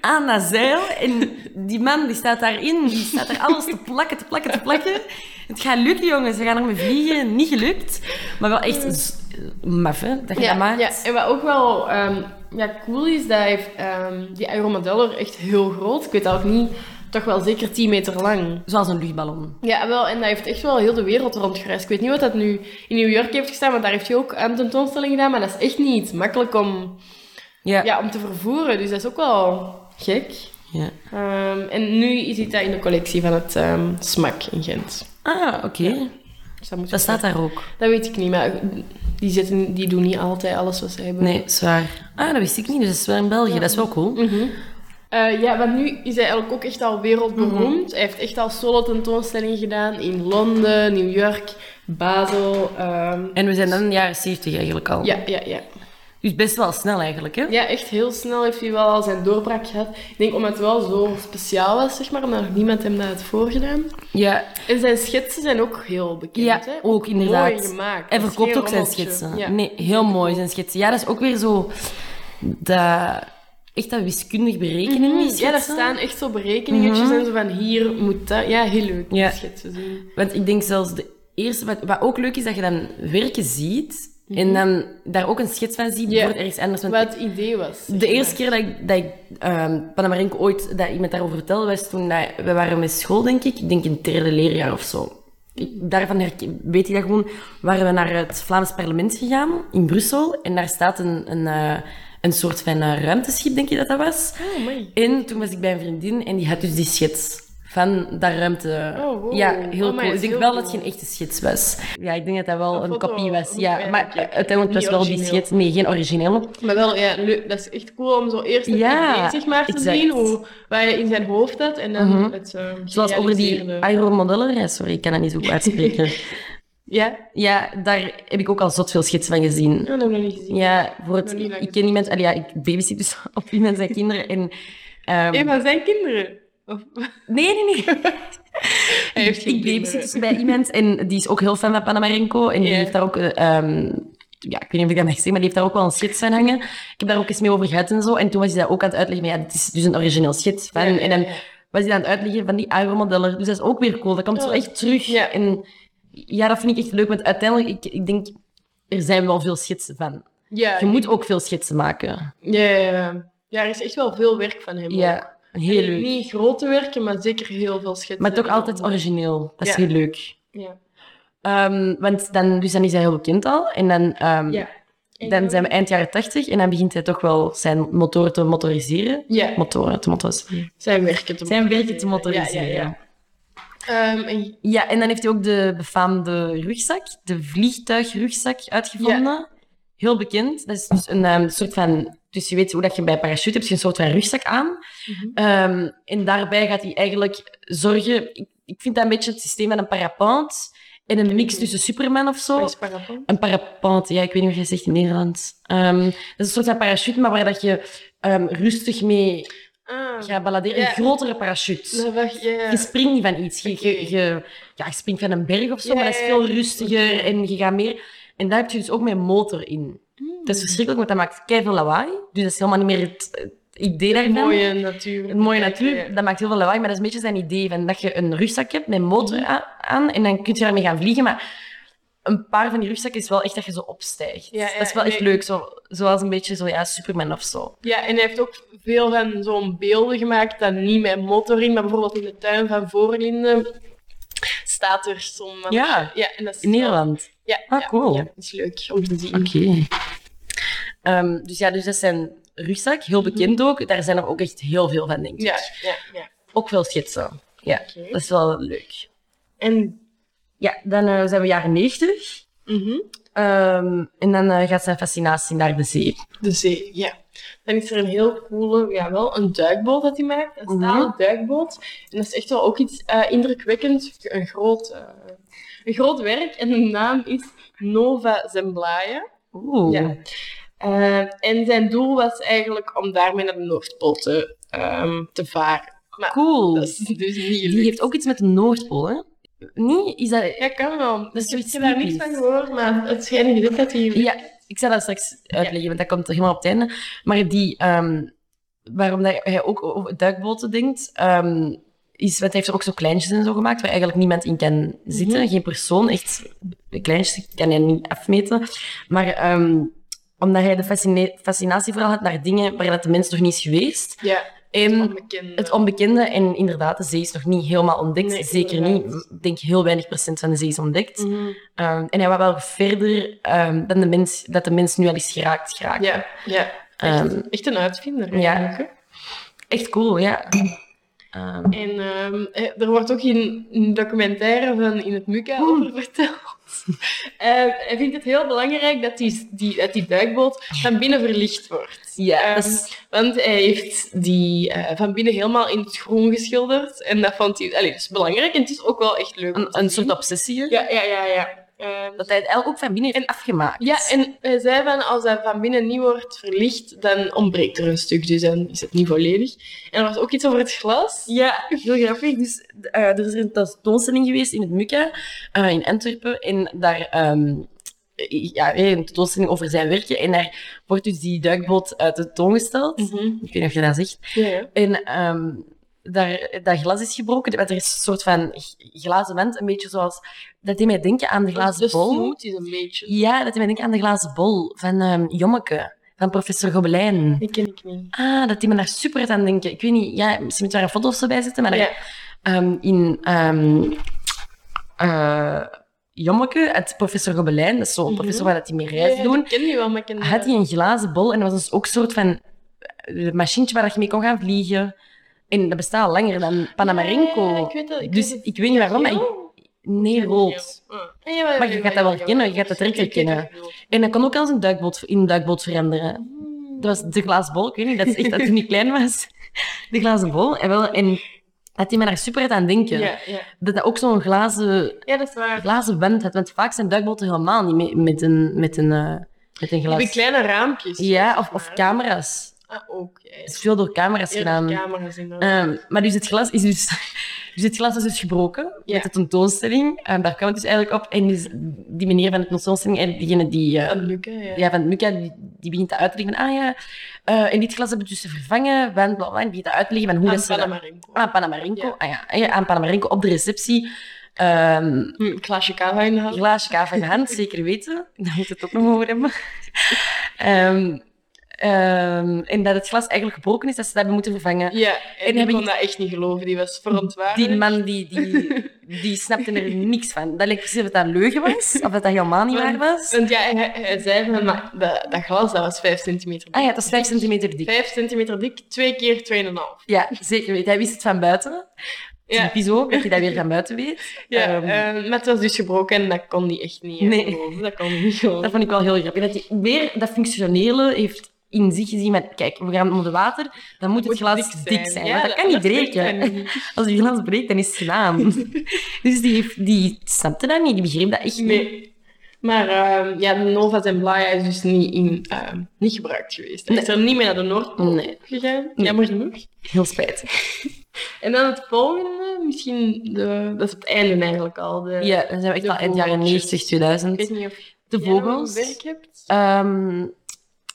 aan dat zeil. En die man die staat daarin, die staat er alles te plakken, te plakken, te plakken. Het gaat lukken, jongens. We gaan ermee vliegen. Niet gelukt. Maar wel echt z- maf, hè, dat je dat maakt. ja, en wat ook wel ehm, ja, cool is, dat hij heeft, ehm, die aeromodeller echt heel groot. Ik weet dat ook niet, toch wel zeker 10 meter lang. Zoals een luchtballon. Ja, wel, en dat heeft echt wel heel de wereld rondgereisd. Ik weet niet wat dat nu in New York heeft gestaan, want daar heeft hij ook een tentoonstelling gedaan. Maar dat is echt niet makkelijk om, ja, om te vervoeren, dus dat is ook wel gek. ja. Ehm, en nu zit dat in de collectie van het ehm, SMAC in Gent. Ah, oké. Dus dat, moet Dat staat daar ook. dat weet ik niet, maar die, zitten, die doen niet altijd alles wat ze hebben. Nee, zwaar. Mhm. Ah, dat wist ik niet. Dus dat is wel in België. Dat is wel cool. Eh, ja, want nu is hij eigenlijk ook echt al wereldberoemd. Mhm. Hij heeft echt al solo tentoonstellingen gedaan in Londen, New York, Basel. ehm, En we zijn dan in de jaren 70 eigenlijk al. ja, ja, ja. Dus best wel snel eigenlijk, hè? Ja, echt heel snel heeft hij wel al zijn doorbraak gehad. Ik denk omdat het wel zo speciaal was, zeg maar, omdat nog niemand hem dat had voorgedaan. Ja, En zijn schetsen zijn ook heel bekend, ja, hè? ook inderdaad. Mooi gemaakt. Hij Dat is verkoopt geen ook zijn rommeltje. schetsen. Ja. Nee, heel mooi zijn schetsen. Ja, dat is ook weer zo... Dat, echt dat wiskundig berekenen Mhm, die Ja, daar schetsen. Mhm. staan echt zo berekeningetjes en zo van hier moet dat... Ja, heel leuk, die Ja. schetsen zien. Want ik denk zelfs de eerste... Wat, wat ook leuk is, dat je dan werken ziet... En dan daar ook een schets van ziet, Mhm. Ja. wordt ergens anders. Want Wat het idee was. De eerste keer dat ik, dat ik ehm, Panamarenko ooit dat iemand daarover vertelde, was toen dat, we waren met school, denk ik. Ik denk in het derde leerjaar of zo. ik- daarvan herken- weet ik dat gewoon, waren we naar het Vlaams parlement gegaan in Brussel. En daar staat een, een, eh, een soort van eh, ruimteschip, denk je dat dat was. Oh, mooi. En toen was ik bij een vriendin en die had dus die schets van dat ruimte. Oh, wow. Ja, heel cool. Oh, maar dat Ik is denk heel wel cool. dat het geen echte schets was. Ja, ik denk dat dat Een wel een, foto kopie was. moet Ja, werken, maar ja. eh, uiteindelijk was Niet wel die origineel. schets. Nee, geen origineel. Maar wel, ja, leuk. Dat is echt cool om zo eerst het Ja, idee, zeg maar, te exact. zien, hoe, wat je in zijn hoofd had, en dan Mhm. het ehm Zoals over die gerealiseerde- aeromodellenreis. Sorry, ik kan dat niet zo goed *laughs* uitspreken. Ja, ja, daar heb ik ook al zot veel schetsen van gezien. dat hebben we nog niet gezien. Ja, voor het, Nog niet lang ik ken iemand... Allee, ja, ik babysit dus *laughs* op iemand zijn kinderen. En, ehm, Een van zijn kinderen. *laughs* Of, nee, nee, nee. *laughs* hij heeft geen ik babysit kinderen. dus bij iemand en die is ook heel fan van Panamarenko. En die Ja. heeft daar ook, eh, ehm, ja, ik weet niet of ik dat mag zeggen, maar die heeft daar ook wel een schets van hangen. Ik heb daar ook eens mee over gehad en zo. En toen was hij dat ook aan het uitleggen. Maar ja, dit is dus een origineel schets van. Ja, ja, En dan ja. was hij aan het uitleggen van die aeromodeller. Dus dat is ook weer cool. Dat komt zo Ja. echt terug. Oh. Ja. En ja, dat vind ik echt leuk. Want uiteindelijk, ik, ik denk, er zijn wel veel schetsen van. Ja, Je moet ook veel schetsen maken. ja, ja, ja. Ja, er is echt wel veel werk van hem. ook. Ja, heel Allee, leuk. Niet grote werken, maar zeker heel veel schetsen. Maar toch en altijd allemaal. origineel. Dat is Ja. heel leuk. Ja. Ehm, want dan, dus dan is hij heel bekend al. En dan ehm, Ja. En Dan zijn we eind jaren 80 en dan begint hij toch wel zijn motoren te motoriseren. Ja, Motoren te motoriseren. zijn werken te Zijn werken te Ja, motoriseren. ja, Ja, ja. Ehm, en- en dan heeft hij ook de befaamde rugzak, de vliegtuigrugzak, uitgevonden. Heel bekend. Dat is dus een ehm, soort van. Dus je weet hoe dat je bij parachute hebt, je een soort van rugzak aan. Mhm. Ehm, en daarbij gaat hij eigenlijk zorgen. Ik, ik vind dat een beetje het systeem van een parapent en een mix niet. tussen Superman of zo. Wat is paraplu? Een parapente, ja, ik weet niet wat jij zegt in Nederland. Ehm, dat is een soort van parachute, maar waar dat je ehm, rustig mee Ah, gaat baladeren. Ja. Een grotere parachute. dat wacht, ja, ja. Je springt niet van iets. Je, je, Oké. je- ja, je springt van een berg of zo, Ja, maar dat is ja, veel ja. rustiger Oké. en je gaat meer... En daar heb je dus ook mijn motor in. Hmm. Dat is verschrikkelijk, want dat maakt keihard lawaai. Dus dat is helemaal niet meer het, het idee daarvan. Mooie natuur. Een mooie Ja, natuur, ja. dat maakt heel veel lawaai, maar dat is een beetje zijn idee. Van dat je een rugzak hebt met een motor Mhm. a- aan en dan kun je daarmee gaan vliegen. Maar een paar van die rugzakken is wel echt dat je zo opstijgt. Ja, ja, dat is wel echt nee. leuk, zo, zoals een beetje zo, ja, Superman of zo. Ja, en hij heeft ook veel van zo'n beelden gemaakt, dan niet met motor in, maar bijvoorbeeld in de tuin van Voorlinden staat er zo'n... Ja. ja en dat is In Nederland. Ja, Ah, ja, cool. ja, dat is leuk om te zien. Oké. Ehm, dus ja, dus dat zijn rugzak, heel bekend ook. Daar zijn er ook echt heel veel van, denk ik. Mhm. Ja, ja, ja. Ook veel schetsen. Ja, Oké. dat is wel leuk. En... Ja, dan eh, zijn we jaren 90. mhm. Ehm, en dan eh, gaat zijn fascinatie naar de zee. De zee, ja. Dan is er een heel coole, ja wel, een duikboot dat hij maakt. Een stalen Mhm. duikboot. En dat is echt wel ook iets eh indrukwekkends. Een groot, eh, een groot werk. En de naam is Nova Zemblaya. Oeh. Ja. Eh, en zijn doel was eigenlijk om daarmee naar de Noordpool te, ehm, te varen. Cool. Dat is dus niet Die gelukt. heeft ook iets met de Noordpool, hè? Nee, is dat... Ja, kan wel. is Dus ik zoiets heb daar niks typisch. van gehoord, maar het schijnt gelukt dat hij... Ja, ik zal dat straks uitleggen, want dat komt er helemaal op het einde. Maar die, ehm, waarom dat hij ook over duikboten denkt, ehm, is, want hij heeft er ook zo kleintjes en zo gemaakt, waar eigenlijk niemand in kan zitten. Geen persoon, echt kleintjes, kan hij niet afmeten. Maar ehm, omdat hij de fascine- fascinatie vooral had naar dingen waar dat de mens nog niet is geweest. ja En onbekende. Het onbekende en inderdaad, de zee is nog niet helemaal ontdekt. Nee, Zeker inderdaad. niet. Ik denk heel weinig procent van de zee is ontdekt. Mhm. Ehm, en hij was wel verder ehm, dan de mens, dat de mens nu al is geraakt. geraakt. Ja, ja. Echt, Ehm, echt een uitvinder. ja. eigenlijk, hè. Echt cool, ja. Ehm, En ehm, eh, er wordt ook in een documentaire van In het Mukka over verteld. Eh, hij vindt het heel belangrijk dat die, die, dat die duikboot van binnen verlicht wordt. ja, Ehm, dat is- want hij heeft die eh, van binnen helemaal in het groen geschilderd. En dat vond hij... Allee, dat is belangrijk en het is ook wel echt leuk. om een, te een zien. soort obsessie. hè? Ja, ja, ja, ja. Ehm, Dat hij het eigenlijk ook van binnen heeft afgemaakt. ja, en hij zei van als dat van binnen niet wordt verlicht, dan ontbreekt er een stuk, dus dan is het niet volledig. En er was ook iets over het glas. Ja, heel grappig. Dus eh, er is een tentoonstelling geweest in het Mukka eh, in Antwerpen. En daar ehm, eh, ja, een tentoonstelling over zijn werken. En daar wordt dus die duikboot eh, tentoongesteld. Ik weet niet of je dat zegt. Ja, ja. En ehm, daar, dat glas is gebroken. Want er is een soort van g- glazen wand. Een beetje zoals... Dat deed mij denken aan de glazen Dus de bol. snoet is een beetje. Ja, dat deed mij denken aan de glazen bol van ehm, Jommeke. Van professor Gobelijn. Die ken ik niet. Ah, dat die me daar super hard aan denken. Ik weet niet, ja, misschien moet daar een foto of zo bij zitten, maar daar- Ja. ehm, in ehm, eh, jommeke, het professor Gobelijn, dat is zo'n Mhm. professor waar dat die mee reizen Ja, doen, Ik ken die wel, maar ik ken die had hij een glazen bol en dat was dus ook een soort van eh, machientje waar dat je mee kon gaan vliegen. En dat bestaat al langer dan Panamarenko. Ja, ik weet dat. Ik dus weet het. ik weet niet waarom, maar ik- Geel? nee, rood. Geel. Ah, ja, ja, Maar je ja, gaat ja, dat wel ja, kennen, ja. je gaat dat direct Ik weet kennen. wat je bedoelt. En dat kon ook als een duikboot, in een duikboot veranderen. Dat was de glazen bol, ik weet niet, dat is echt dat toen ik klein was. *laughs* De glazen bol. En, wel, en dat hij me daar super uit aan denken. Ja, ja. Dat dat ook zo'n glazen, ja, dat is waar. glazen wand had. Want vaak zijn duikboten helemaal niet mee, met een, met een, eh, met een Die glas. kleine raampjes. Ja, zeg of, of maar. camera's. Ah, ook. Ja, ja. Het is veel door camera's Ja, gedaan. camera's in Ehm, maar dus het glas is dus... *laughs* Dus het glas is dus gebroken Ja. met de tentoonstelling. En daar kwam het dus eigenlijk op. En dus die meneer van de tentoonstelling, eigenlijk degene die... eh, ja. ja, van Muka, die, die begint dat uit te leggen. van, Ah ja, eh, en dit glas hebben we dus vervangen, van bla bla. En die begint dat uit te leggen van hoe Aan dat ze... dat- Panamarenko. Aan Panamarenko. Ja. Ah, ja. en ja, aan Panamarenko op de receptie. Ehm Hm, Een glaasje kava in de hand. glaasje kava in de *laughs* hand, zeker weten. Daar moet het ook nog over hebben. *laughs* Ehm, ehm, en dat het glas eigenlijk gebroken is, dat ze dat hebben moeten vervangen. Ja, en, heb die ik- kon dat echt niet geloven. Die was verontwaardigd. Die man die, die, die snapte er niks van. Dat leek precies of dat een leugen was, of dat dat helemaal niet waar was. Want ja, hij, hij zei van, maar dat, dat glas dat was 5 centimeter dik. Ah ja, het was 5 centimeter dik. 5 centimeter dik, twee keer 2,5. Ja, zeker weten. Hij wist het van buiten. Ja, Typisch ook, dat hij dat weer van buiten weet. ja Ehm, eh, maar het was dus gebroken en dat kon die echt niet eh, Nee. geloven. Dat kon die niet *laughs* geloven. Dat vond ik wel heel grappig. Dat hij weer dat functionele heeft in zich gezien met, kijk, we gaan onder water, dan moet het glas dik zijn. want dat, kan niet breekt breken. hij niet. Als die glas breekt, dan is het *laughs* gedaan. dus die, heeft, die snapte dat niet, die begreep dat echt niet. Nee. Maar ehm, ja, de Nova's en Blaya is dus niet, in, ehm, niet gebruikt geweest. Hij is er niet meer naar de Noordpool Nee. gegaan, Nee. jammer genoeg. Heel spijtig. En dan het volgende, misschien, de, dat is het einde eigenlijk al. De, Ja, dan zijn we echt De al eind jaren vogeltjes. 90, Ik weet 2000. niet of De jij nog vogels. een werk hebt Ehm,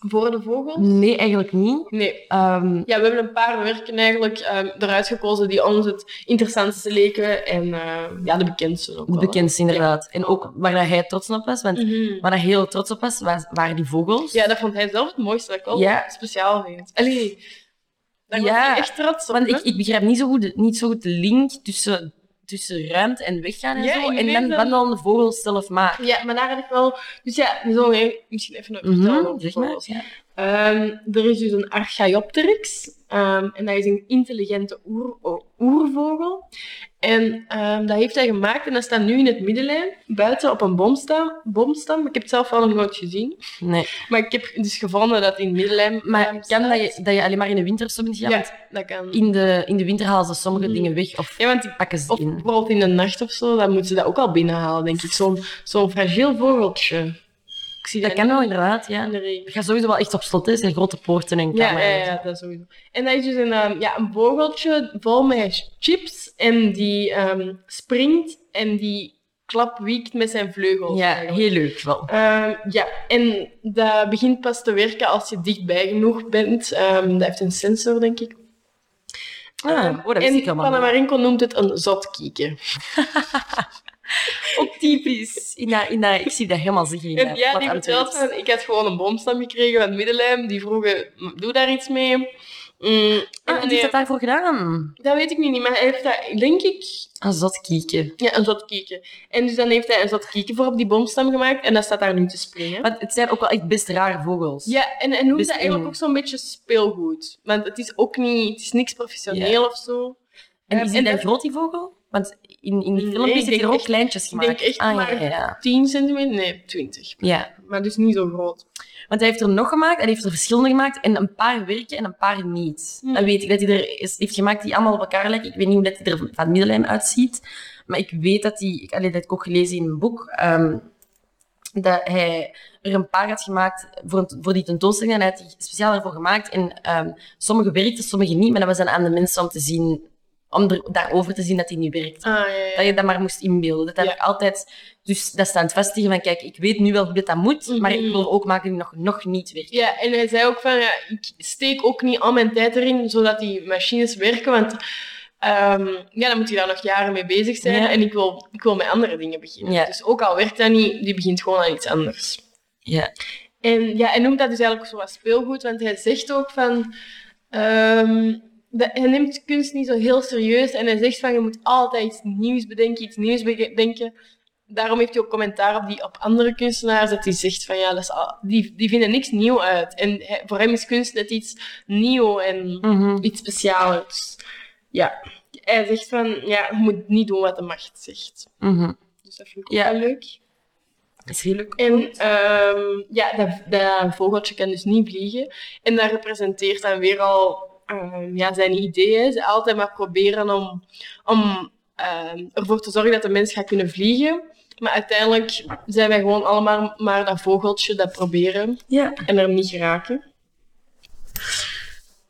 voor de vogels. nee, eigenlijk niet. Nee. Ehm, Ja, we hebben een paar werken eigenlijk ehm, eruit gekozen die ons het interessantste leken en ehm, ja, de bekendste ook de wel, hè. bekendste inderdaad. En ook waar dat hij trots op was, want Mhm. waar hij heel trots op was, was waren die vogels. Ja, dat vond hij zelf het mooiste dat ik al Ja. speciaal vind. Allee, daar Ja. was hij echt trots op. Want hè? ik, ik begrijp niet zo, goed, niet zo goed de link tussen, tussen ruimte en weggaan en Ja, zo. ik En weet dan dat- wandelen de vogels zelf maken. Ja, maar daar had ik wel... Dus ja, we zullen even- misschien even nog Mhm, vertellen over zeg maar. vogels. Ehm, er is dus een Archaeopteryx. ehm, en dat is een intelligente oer, o- oervogel. En ehm, dat heeft hij gemaakt en dat staat nu in het middenlijn. Buiten op een boomstam. boomstam. Ik heb het zelf wel nog nooit gezien. Nee. Maar ik heb dus gevonden dat het in het middenlijn... Maar ehm, kan staat. dat je, dat je alleen maar in de winter of zo bent gegaan? Ja, Want dat kan. In de, in de winter halen ze sommige Mhm. dingen weg of Ja, want die- pakken ze of in. bijvoorbeeld in de nacht of zo, dan moeten ze dat ook al binnenhalen, denk ik. Zo'n zo'n fragiel vogeltje. Ik zie Dat niet kan wel inderdaad, in ja. de regen. Het gaat sowieso wel echt op slot, hè. Er zijn grote poorten en Ja, kamers. ja, ja, dat sowieso. En dat is dus een, ehm, ja, een vogeltje vol met chips en die ehm, springt en die klapwiekt met zijn vleugels. Ja, eigenlijk. heel leuk wel. Ehm, ja, en dat begint pas te werken als je dichtbij genoeg bent. Ehm, dat heeft een sensor, denk ik. Ah, oh, dat wist Ehm, en ik helemaal niet. Panamarenko noemt het een zotkieker. Ook typisch. In dat, in dat, ik zie dat helemaal zeggen. in En dat ja, plat die Antwerps. vertelt van, ik had gewoon een boomstam gekregen van het middenlijm. Die vroegen, "M, doe daar iets mee. Mm, en Ah, en die nee, heeft dat dat... daarvoor gedaan. weet ik nu niet, maar hij heeft dat, denk ik, Ah, zat kieken. ja, een zat kieken. En dus dan heeft hij een zat kieken voor op die boomstam gemaakt en dat staat daar nu te springen. Want het zijn ook wel echt best rare vogels. Ja, en, en noemt Dus dat eigenlijk in- ook zo'n beetje speelgoed. Want het is ook niet, het is niks professioneel of zo. En Ja, is en het dan dat- groot, die vogel? Want in, in die Nee, filmpjes ik zitten denk er ook echt- kleintjes ik gemaakt. denk echt ah, maar- ja, ja. 10 centimeter? Nee, 20. ja, Maar dus niet zo groot. want hij heeft er nog gemaakt, hij heeft er verschillende gemaakt en een paar werken en een paar niet. Hmm. Dan weet ik dat hij er is, heeft gemaakt die allemaal op elkaar lijken. Ik weet niet hoe dat hij er van het middenlijn uitziet, maar ik weet dat hij, ik, allee, dat heb ik ook gelezen in een boek, ehm, dat hij er een paar had gemaakt voor, een- voor die tentoonstelling en hij had die speciaal ervoor gemaakt. En ehm, sommige werkten, sommige niet, maar dat was dan aan de mensen om te zien, om er, daarover te zien dat hij niet werkt. Ah, ja, ja. Dat je dat maar moest inbeelden. Dat heb Ja. ik altijd... Dus dat staat vestigen van, kijk, ik weet nu wel hoe dit dat moet, maar ik Mhm. wil er ook maken die nog, nog niet werken. Ja, en hij zei ook van, ja, ik steek ook niet al mijn tijd erin, zodat die machines werken, want ehm, ja, dan moet hij daar nog jaren mee bezig zijn. Ja. En ik wil, ik wil met andere dingen beginnen. Ja. Dus ook al werkt dat niet, die begint gewoon aan iets anders. Ja. En ja, hij noemt dat dus eigenlijk zo wat speelgoed, want hij zegt ook van... ehm, de- hij neemt kunst niet zo heel serieus en hij zegt van je moet altijd iets nieuws bedenken, iets nieuws bedenken. Daarom heeft hij ook commentaar op, die, op andere kunstenaars dat hij zegt van ja, dat is al- die, die vinden niks nieuw uit. En hij- voor hem is kunst net iets nieuw en Mm. Mhm. iets speciaals. Dus, Ja, hij zegt van ja, je moet niet doen wat de macht zegt. Dus dat vind ik ook Ja. wel leuk. Mhm. Is heel leuk. En ehm, ja, dat, dat vogeltje kan dus niet vliegen. En dat representeert dan weer al ehm, ja, zijn ideeën. Ze altijd maar proberen om, om ehm, ervoor te zorgen dat de mens gaat kunnen vliegen. Maar uiteindelijk zijn wij gewoon allemaal maar dat vogeltje dat proberen Ja. en er niet geraken.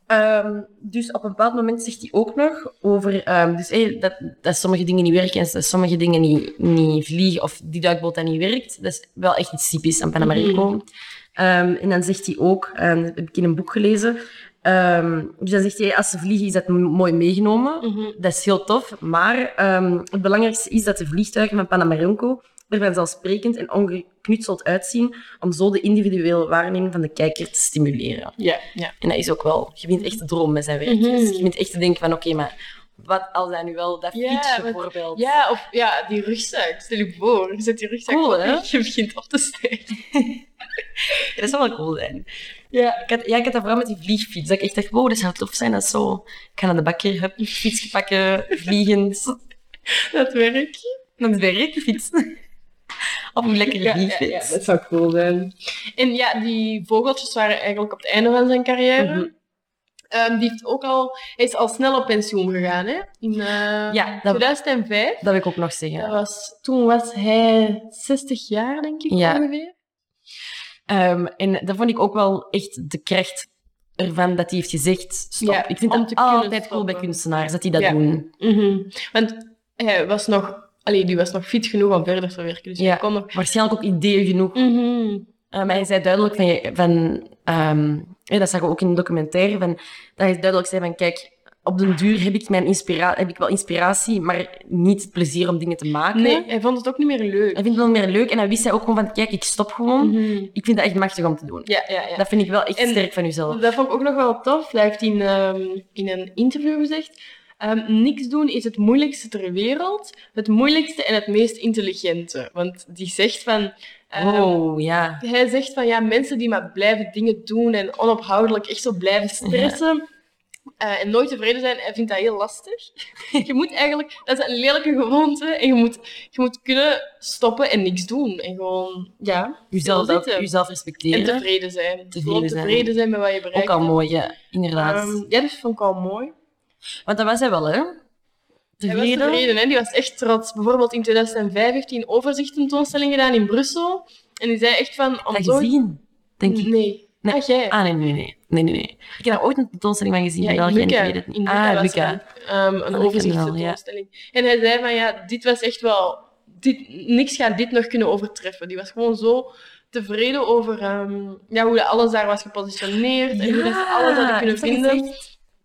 Ehm, dus op een bepaald moment zegt hij ook nog over ehm, dus, hey, dat, dat sommige dingen niet werken en dat sommige dingen niet, niet vliegen of die duikboot dat niet werkt. Dat is wel echt iets typisch aan Panamarico. Ehm, en dan zegt hij ook, ehm, dat heb ik in een boek gelezen, ehm, dus dan zegt hij als ze vliegen is dat m- mooi meegenomen. Dat is heel tof, maar ehm, het belangrijkste is dat de vliegtuigen van Panamarico er vanzelfsprekend en ongeknutseld uitzien om zo de individuele waarneming van de kijker te stimuleren. Ja, ja. En dat is ook wel, je begint echt te dromen met zijn werk. Mhm. Dus je begint echt te denken van, oké, maar wat als dat nu wel, dat Ja, fiets wat- bijvoorbeeld. ja, of ja, die rugzak. Stel je voor, je zet die rugzak Cool, op hè? en je begint op te stijgen. Dat zou wel cool zijn. Ja. Ik had, ja, ik had dat vooral met die vliegfiets. Dat ik echt dacht, wow, dat zou tof zijn. Dat is zo, ik ga naar de bakker, heb fiets pakken, *laughs* vliegen. Dat werkt. Naar het werk, fiets. Op een lekkere Ja, ja, vliegfiets. ja, dat zou cool zijn. En ja, die vogeltjes waren eigenlijk op het einde van zijn carrière. Mhm. Ehm, die heeft ook al, hij is al snel op pensioen gegaan, hè? In eh, Ja, dat- 2005. Dat wil ik ook nog zeggen. Dat was, toen was hij 60 jaar, denk ik Ja. ongeveer. Ehm, en dat vond ik ook wel echt de kracht ervan dat hij heeft gezegd, stop. Ja, ik vind om dat te kunnen altijd cool bij stoppen. kunstenaars, dat die dat Ja. doen. Mhm. Want hij was nog, allee, die was nog fit genoeg om verder te werken. Dus Ja. hij kon nog. Waarschijnlijk ook ideeën genoeg Mhm. Eh, maar hij zei duidelijk van, je- van ehm, hè, dat zag ik ook in een documentaire, van, dat hij duidelijk zei van, kijk, op den duur heb ik, mijn inspira heb ik wel inspiratie, maar niet het plezier om dingen te maken. Nee, hij vond het ook niet meer leuk. Hij vindt het wel meer leuk en hij wist hij ook gewoon van, kijk, ik stop gewoon. Mhm. Ik vind dat echt machtig om te doen. Ja, ja, ja. Dat vind ik wel echt En- Oh, sterk van uzelf. Dat vond ik ook nog wel tof. Hij heeft in, ehm, in een interview gezegd: ehm, Niks doen is het moeilijkste ter wereld, het moeilijkste en het meest intelligente. Want die zegt van. ehm, oh, ja. Hij zegt van ja, mensen die maar blijven dingen doen en onophoudelijk echt zo blijven stressen. eh, en nooit tevreden zijn, hij vindt dat heel lastig. *laughs* Je moet eigenlijk, dat is een lelijke gewoonte. En je moet, je moet kunnen stoppen en niks doen. En gewoon, ja, Uzelf, wil zitten. uzelf en respecteren. tevreden zijn. Tevreden gewoon zijn. tevreden zijn. met wat je bereikt. Ook al mooi, ja. Inderdaad. Ehm, ja, dat vond ik al mooi. Want dat was hij wel, hè? Hij was tevreden, hè? die was echt trots. Bijvoorbeeld in 2005 heeft hij een overzichttentoonstelling gedaan in Brussel. En die zei echt van... Om Dat zo... gezien, denk ik. Nee. Nee. Ah, jij. Ah, nee, nee, nee. nee, nee, nee. Ik heb daar ooit een tentoonstelling van gezien Ja, in in België en Lucca. ik weet het niet. In Lucca ah, was Luca. het, ehm, een ken overzichtstentoonstelling. En hij zei van ja, dit was echt wel... Dit, niks gaat dit nog kunnen overtreffen. Die was gewoon zo tevreden over ehm, ja, hoe dat alles daar was gepositioneerd. En hoe dat ze alles hadden Ah, kunnen vinden.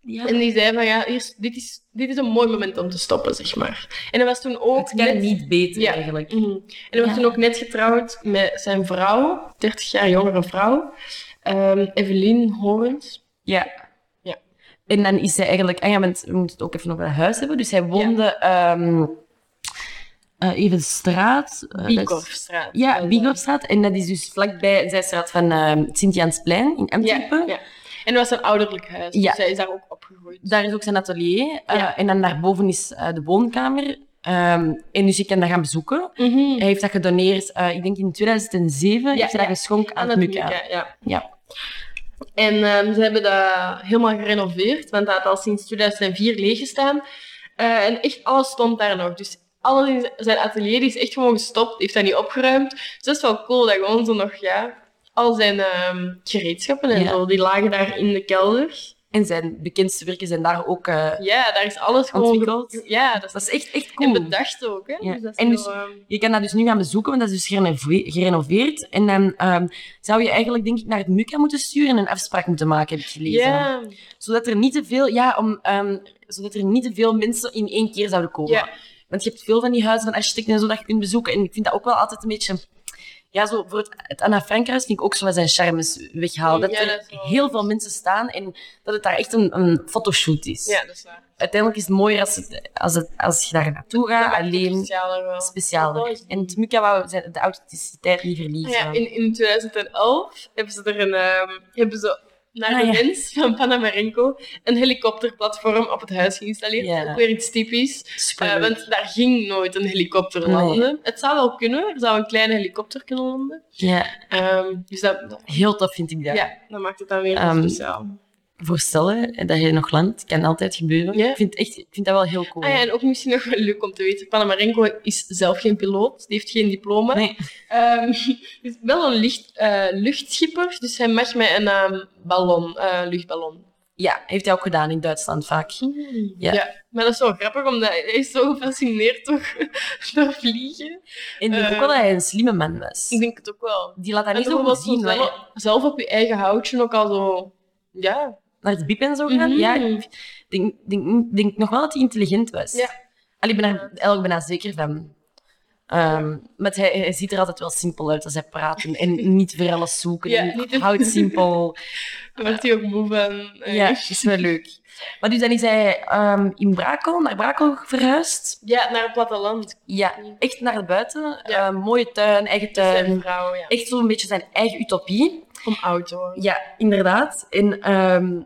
Ja. En die zei van ja, hier, is- dit, is, dit is een mooi moment om te stoppen, zeg maar. En dat was toen ook het kan net- niet beter Ja. eigenlijk. Mhm. En hij was Ja. toen ook net getrouwd met zijn vrouw, 30 jaar jongere vrouw, ehm Evelien Horens. Ja. Ja. En dan is hij eigenlijk... Ah ja, want we moeten het ook even over het huis hebben. Dus hij woonde... ehm, eh, even de straat. eh, dat is- Biekorfstraat. eh, Ja, Biegorfstraat. En dat is dus vlakbij zijn straat van ehm Sint-Jansplein in Antwerpen. Ja, ja. En dat was een ouderlijk huis, Ja. dus hij is daar ook opgegroeid. Daar is ook zijn atelier. eh, Ja. En dan daarboven is eh, de woonkamer. Ehm, en dus je kan dat gaan bezoeken. Mhm. Hij heeft dat gedoneerd, eh, ik denk in 2007, Ja, heeft hij ja. dat geschonken aan, Aan het het Mukka. Mukka, ja. Ja. En ehm, ze hebben dat helemaal gerenoveerd, want dat had al sinds 2004 leeggestaan. Eh, en echt alles stond daar nog. Dus alles in zijn atelier die is echt gewoon gestopt, heeft dat niet opgeruimd. Dus dat is wel cool dat gewoon zo nog, ja, al zijn ehm, gereedschappen en Ja. zo, die lagen daar in de kelder. En zijn bekendste werken zijn daar ook eh, Ja, daar is alles gewoon... ontwikkeld. Ja, dat is, Dat is echt, echt cool. En bedacht ook, hè. Ja. Dus dat is En dus- wel, ehm, Je kan dat dus nu gaan bezoeken, want dat is dus gereno- gerenoveerd. En dan ehm, zou je eigenlijk, denk ik, naar het MUCA moeten sturen en een afspraak moeten maken, heb ik gelezen. Ja, Zodat er niet te veel, ja, om, ehm, zodat er niet te veel mensen in één keer zouden komen. Ja. Want je hebt veel van die huizen van architecten en zo dat je kunt bezoeken. En ik vind dat ook wel altijd een beetje... Ja, zo voor het, het Anna Frankhuis vind ik ook zo met zijn charmes weghalen. Dat Ja, er dat is wel waar. heel veel mensen staan en dat het daar echt een, een fotoshoot is. Ja, dat is waar. Uiteindelijk is het mooier als, het, als, het, als je daar naartoe gaat, alleen Specialer wel. Dat specialer. is En het Mukka wou zijn- de authenticiteit niet verliezen. Ja, in, in 2011 hebben ze er een, ehm, hebben ze naar Ah, de ja. wens van Panamarenko een helikopterplatform op het huis geïnstalleerd. Ja. Ook weer iets typisch. Superleuk. Eh, want daar ging nooit een helikopter Nee. landen. Het zou wel kunnen, er zou een kleine helikopter kunnen landen. ja, Ehm, dus dat, dat- heel tof vind ik ja. dat. dat maakt het dan weer Ehm, speciaal. Voorstellen dat je nog landt, kan altijd gebeuren. Ja. Ik, vind echt, ik vind dat wel heel cool. Ah ja, en ook misschien nog wel leuk om te weten, Panamarenko is zelf geen piloot, die heeft geen diploma. Nee. Ehm, *laughs* is wel een licht, eh, luchtschipper, dus hij mag met een ehm, ballon, eh, luchtballon. Ja, heeft hij ook gedaan in Duitsland vaak. Ja. maar dat is wel grappig, omdat hij is zo gefascineerd door, *laughs* door vliegen. En ik denk ook Eh. wel dat hij een slimme man was. Ik denk het ook wel. Die laat dat En niet zo bijvoorbeeld goed zien. zo zelf, maar zelf op je eigen houtje ook al zo... Ja. Naar het biep en zo gaan. Mhm. Ja, ik denk, denk, denk nog wel dat hij intelligent was. Ja. Allee, ik ben er eigenlijk bijna zeker van. Ehm, maar hij, hij ziet er altijd wel simpel uit als hij praat. En, *laughs* en niet voor alles zoeken. Ja, en niet het- houdt *laughs* simpel. Daar werd hij ook moe van. Eh, Ah. *laughs* ja, dus is wel leuk. Maar dus dan is hij ehm, in Brakel, naar Brakel verhuisd. ja, naar het platteland. Ja, echt naar het buiten. Ja. Eh, mooie tuin, eigen tuin. Zijn vrouw, ja. Echt zo'n beetje zijn eigen utopie. Om oud te worden. Ja, inderdaad. En ehm,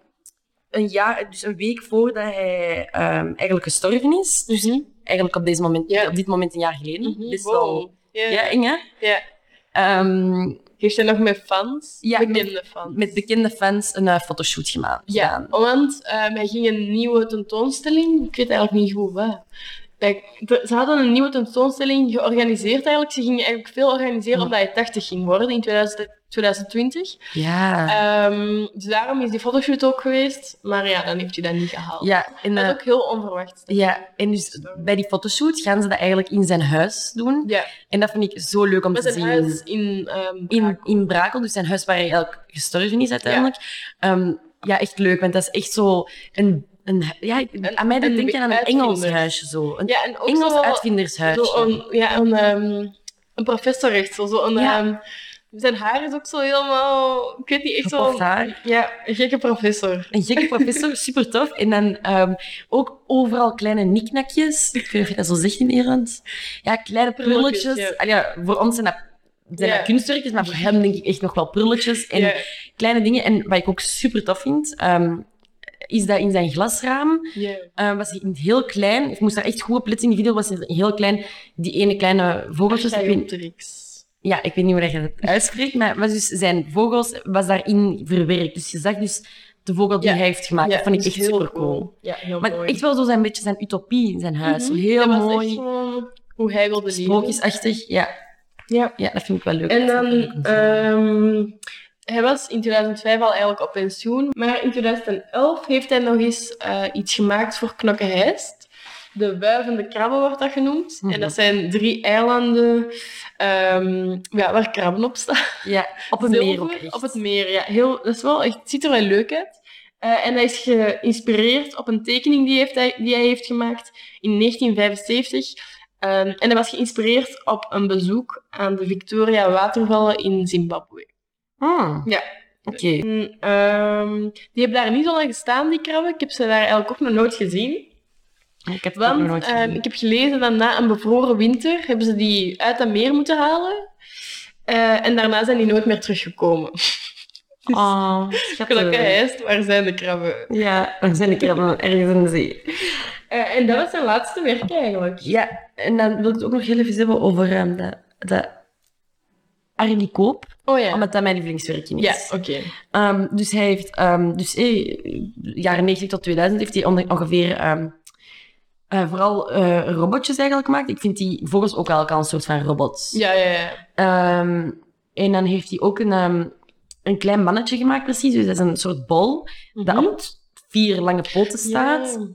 een jaar, dus een week voordat hij ehm, eigenlijk gestorven is, dus eigenlijk op, deze moment, Mhm. Ja. op dit moment een jaar geleden, Mhm, Hm? best wow. wel... Ja. Ja, eng hè? Ja. Ehm, Heeft hij nog met fans? Ja, Bekende fans. met bekende fans een eh, fotoshoot gemaakt. Ja, gedaan. want ehm, hij ging een nieuwe tentoonstelling. Ik weet eigenlijk niet goed waar. Bij- de- Ze hadden een nieuwe tentoonstelling georganiseerd eigenlijk. Ze gingen eigenlijk veel organiseren Ja. omdat hij 80 ging worden in 2000 2020. Ja. Ehm, dus daarom is die fotoshoot ook geweest. Maar ja, dan heeft hij dat niet gehaald. ja, en, Dat is eh, ook heel onverwacht. ja, en dus bij die fotoshoot gaan ze dat eigenlijk in zijn huis doen. Ja, En dat vind ik zo leuk om met te zijn zien. huis in... ehm in, Brakel. in Brakel, dus zijn huis waar hij eigenlijk gestorven is uiteindelijk. Ja, ja echt leuk, want dat is echt zo een... een ja, ik- Een- aan mij dat een denk je aan een uitvinder. Engels huisje zo. Een Ja, en ook Engels zo, uitvindershuisje. zo een, ja, een, ehm een professorrechtsel. Zo een, Ja. ehm, zijn haar is ook zo helemaal... Ik weet niet, echt Gepoft zo... haar. Ja, een gekke professor. Een gekke professor, *laughs* super tof. En dan ehm, ook overal kleine niknakjes. Ik weet niet of je dat zo zegt in Nederland. Ja, kleine Prulletjes, prulletjes. ja. Ah ja, voor ons zijn dat, zijn Ja. dat kunstwerkjes, maar voor hem denk ik echt nog wel prulletjes. En ja, kleine dingen. En wat ik ook super tof vind, ehm, is dat in zijn glasraam ja. eh, was hij in het heel klein. Ik moest daar echt goed op letten in die video. Was hij heel klein. Die ene kleine vogeltjes. Ik weet, Gigantrex. ja, ik weet niet hoe je *laughs* dat uitspreekt. Maar was dus zijn vogels was daarin verwerkt. Dus je zag dus de vogel die Ja. hij heeft gemaakt. dat vond ik echt super cool. Ja, heel Maar mooi. echt wel zo zijn beetje zijn utopie in zijn huis. Zo Mhm. Heel Dat was echt mooi. zo hoe hij wilde leven. Sprookjesachtig. Ja. Ja. ja, dat vind ik wel leuk. En dan, Dat vind ik ook leuk. ehm, hij was in 2005 al eigenlijk op pensioen, maar in 2011 heeft hij nog eens eh, iets gemaakt voor Knokke-Heist. De wuivende krabben wordt dat genoemd. Mhm. En dat zijn drie eilanden ehm, ja, waar krabben op staan. ja, op een Zilver meer ook echt. Op het meer, ja. Heel, dat is wel echt, het ziet er wel leuk uit. Eh, en hij is geïnspireerd op een tekening die, heeft hij, die hij heeft gemaakt in 1975. Ehm, en hij was geïnspireerd op een bezoek aan de Victoria Watervallen in Zimbabwe. Hmm. Ja. Oké. En, ehm, die hebben daar niet zo lang gestaan, die krabben. Ik heb ze daar eigenlijk ook nog nooit gezien. Ik heb het ook nog nooit Want ehm, gezien. ik heb gelezen dat na een bevroren winter hebben ze die uit dat meer moeten halen. Eh, en daarna zijn die nooit meer teruggekomen. Oh, Gelukkig schattig. heist, waar zijn de krabben? Ja, er zijn de krabben ergens in de zee. Eh, en dat was zijn laatste werk eigenlijk. Ja, en dan wil ik het ook nog heel even hebben over ehm, dat, dat Arnie Koop, Oh ja. omdat dat mijn lievelingswerkje is. Ja, oké. Ehm, dus hij heeft, ehm, dus eh, jaren 90 tot 2000 heeft hij onge- ongeveer ehm, eh, vooral eh, robotjes eigenlijk gemaakt. Ik vind die vogels ook eigenlijk al een soort van robots. Ja, ja, ja. Ehm, en dan heeft hij ook een, ehm, een klein mannetje gemaakt precies, dus dat is een soort bol Mhm. dat op vier lange poten staat. Ja.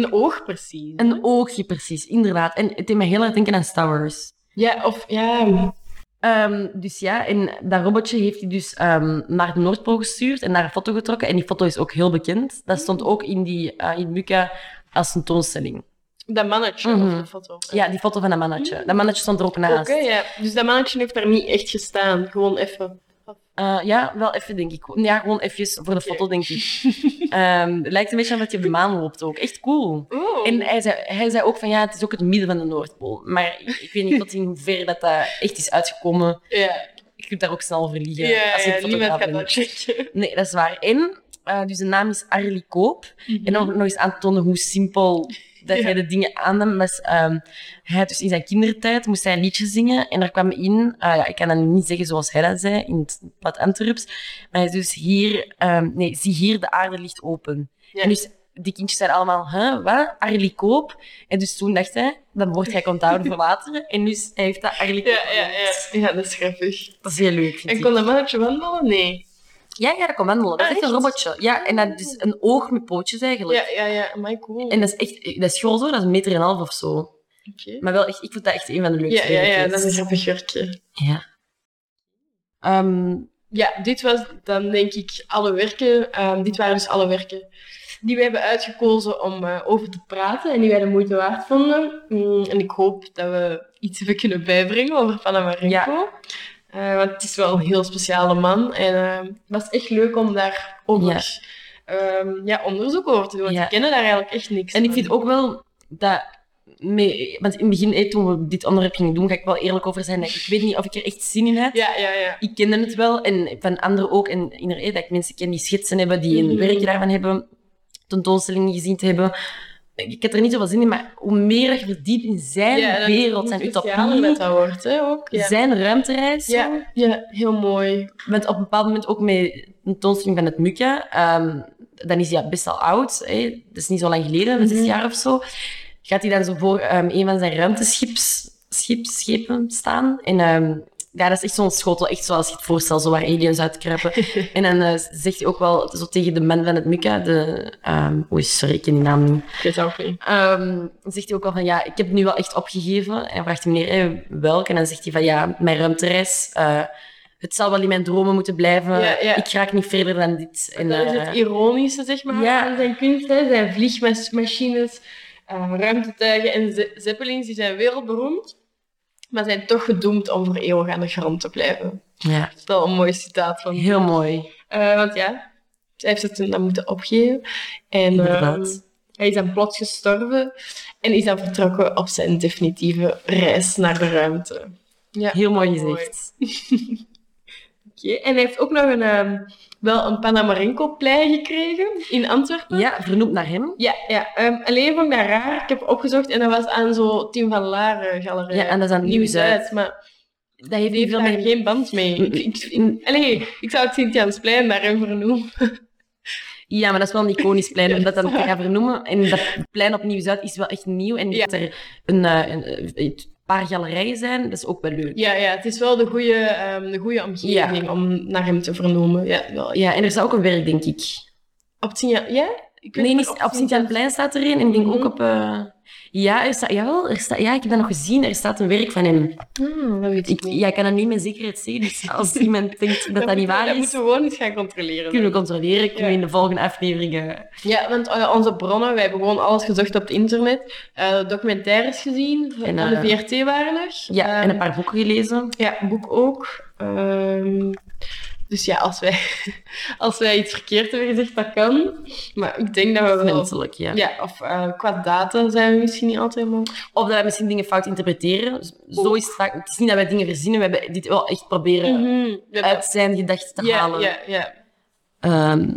Een oog precies. Een oogje precies, inderdaad. En het deed mij heel erg denken aan Star Wars. Ja, of ja. Ehm, dus ja, en dat robotje heeft hij dus ehm, naar de Noordpool gestuurd en daar een foto Mm. getrokken. En die foto is ook heel bekend. Dat stond ook in, die, eh, in Muka als een toonstelling. Dat mannetje Mhm. of de foto. Ja, die foto van dat mannetje. Dat mannetje stond er ook Oké, naast. ja. Dus dat mannetje heeft daar niet echt gestaan. Gewoon even. Eh, ja, wel even, denk ik. Ja, gewoon eventjes voor de foto, denk *laughs* ik. Ehm, het lijkt een beetje aan dat je op de maan loopt ook. Echt cool. Oh. En hij zei, hij zei ook van, ja, het is ook het midden van de Noordpool. Maar ik, ik weet niet tot in hoeverre dat, dat echt is uitgekomen. ja, Je kunt daar ook snel over liegen. ja, ja, als je een niemand fotograaf gaat bent. dat checken. Nee, dat is waar. En, eh, dus de naam is Arlie Koop. En om nog eens aan te tonen hoe simpel dat Mhm. Ja. hij de dingen aannam, was ehm, hij dus in zijn kindertijd moest hij een liedje zingen en er kwam in, ah ja, ik kan dat niet zeggen zoals hij dat zei in het plat Antwerps, maar hij is dus hier, ehm, nee, zie hier de aarde ligt open. Ja. En dus die kindjes zijn allemaal, huh, wat, Arlie Koop? En dus toen dacht hij, dan wordt hij onthouden voor later. En dus hij heeft dat Arlie Koop. Ja, ja, ja. genoemd. Ja, dat is grappig. Dat is heel leuk, vind En ik. kon dat mannetje wandelen? Nee. Ja, ja, dat kan wandelen. Dat is Ah, echt een echt? robotje. Ja, en dat is een oog met pootjes eigenlijk. Ja, ja, ja. Maar cool. En dat is echt, dat is groot hoor, dat is een meter en een half of zo. Oké. Maar wel echt, ik vond dat echt een van de Ja, leukste ja, ja. Dat werkjes. is een grappig werkje. Ja. Ehm, Ja, dit was dan denk ik alle werken. ehm, dit waren dus alle werken die we hebben uitgekozen om eh, over te praten en die wij de moeite waard vonden. Mm, en ik hoop dat we iets hebben kunnen bijbrengen over Panamarenko. Ja. Eh, want het is wel een heel speciale man. En ehm, het was echt leuk om daar over, ehm, ja, onderzoek over te doen. Want Ja. we kennen daar eigenlijk echt niks en ik van. vind ook wel dat... Mee, want in het begin, eh, toen we dit onderwerp gingen doen, ga ik wel eerlijk over zijn. dat Ik weet niet of ik er echt zin in had. Ja, ja, ja. Ik kende het wel, en van anderen ook. En inderdaad, dat ik mensen ken die schetsen hebben, die een Mhm. werkje daarvan hebben, tentoonstellingen gezien te hebben. Ik had er niet zoveel zin in, maar hoe meer dat je verdiept in zijn ja, dat- wereld, zijn hoe specialer utopie, dat dat wordt, hè, ook. Ja. zijn ruimtereis. Ja, ja, heel mooi. Want op een bepaald moment ook met de tentoonstelling van het Mukje, ehm, dan is hij ja best al oud, hè? dat is niet zo lang geleden, Mhm. zes jaar of zo, gaat hij dan zo voor ehm, een van zijn ruimteschips, schips, schepen staan. En ehm, ja, dat is echt zo'n schotel, echt zoals je het voorstelt, zo waar aliens uitkruipen. *laughs* en dan eh, zegt hij ook wel zo tegen de man van het Mukje, de... ehm, oei, sorry, ik ken die naam niet. Ik weet het ook niet. Ehm, dan zegt hij ook al van ja, ik heb nu wel echt opgegeven. En dan vraagt hij meneer hey, welke. En dan zegt hij van ja, mijn ruimtereis. eh, het zal wel in mijn dromen moeten blijven. Ja, ja. Ik raak niet verder dan dit. En, dat is eh, het ironische, zeg maar, ja. aan zijn kunst. Hè. Zijn vliegmachines, eh, ruimtetuigen en ze- zeppelins, die zijn wereldberoemd. Maar zijn toch gedoemd om voor eeuwig aan de grond te blijven. ja, Dat is wel een mooi citaat van... heel mooi. Eh, want ja, hij heeft het toen dan moeten opgeven. En Inderdaad. ehm, hij is dan plots gestorven. En is dan vertrokken op zijn definitieve reis naar de ruimte. Ja, Heel mooi mooi. gezegd. Oké, En hij heeft ook nog een, ehm, wel een Panamarenko-plei gekregen in Antwerpen. Ja, vernoemd naar hem. Ja, ja. ehm, alleen vond ik dat raar. Ik heb opgezocht en dat was aan zo Tim van Laren galerij. Ja, en dat is aan Nieuw-Zuid. Nieuw-Zuid, maar Dat heeft die heeft niet veel Mm, daar mee. geen band mee. Ik, ik, ik- allee, ik zou het Sint-Jansplein naar hem vernoemen. Ja, maar dat is wel een iconisch plein om dat dan te Ja. gaan vernoemen. En dat plein op Nieuw-Zuid is wel echt nieuw. En Ja. dat er een, eh, een, eh, een paar galerijen zijn, dat is ook wel leuk. Ja, ja, het is wel de goede, ehm, de goede omgeving om naar hem te vernoemen. Ja, wel. Ja, en er is ook een werk, denk ik. Op het Sint-Jan... Ja? Ik weet Nee, niet niet, op Sint-Jan-Plein staat er een. En ik denk ook Mhm. op... eh, Ja, er staat, jawel, er staat, ja, ik heb dat nog gezien. Er staat een werk van hem. Hmm, dat weet ik Ik, niet. ja, ik kan dat niet met zekerheid zeggen. *laughs* Dus als iemand denkt dat dat, moeten niet we- waar Dat is, moeten we gewoon eens gaan controleren. kunnen we controleren. Kunnen we Ja. in de volgende afleveringen... Ja, want eh, onze bronnen, wij hebben gewoon alles gezocht op het internet. Eh, documentaires gezien, van En, van de eh, VRT waren er. Ja, en Ehm, een paar boeken gelezen. Ja, boek ook. Ehm, dus ja, als wij, *laughs* als wij iets verkeerd hebben gezegd, dat kan. Maar ik denk dat we wel... Menselijk, ja. Ja, of eh, qua data zijn we misschien niet altijd helemaal... Of dat wij misschien dingen fout interpreteren. Z- Oh. Zo is het vaak. Het is niet dat wij dingen verzinnen. We hebben dit wel echt proberen Mhm, we hebben- uit zijn gedachten te ja, halen. ja, ja. Ehm,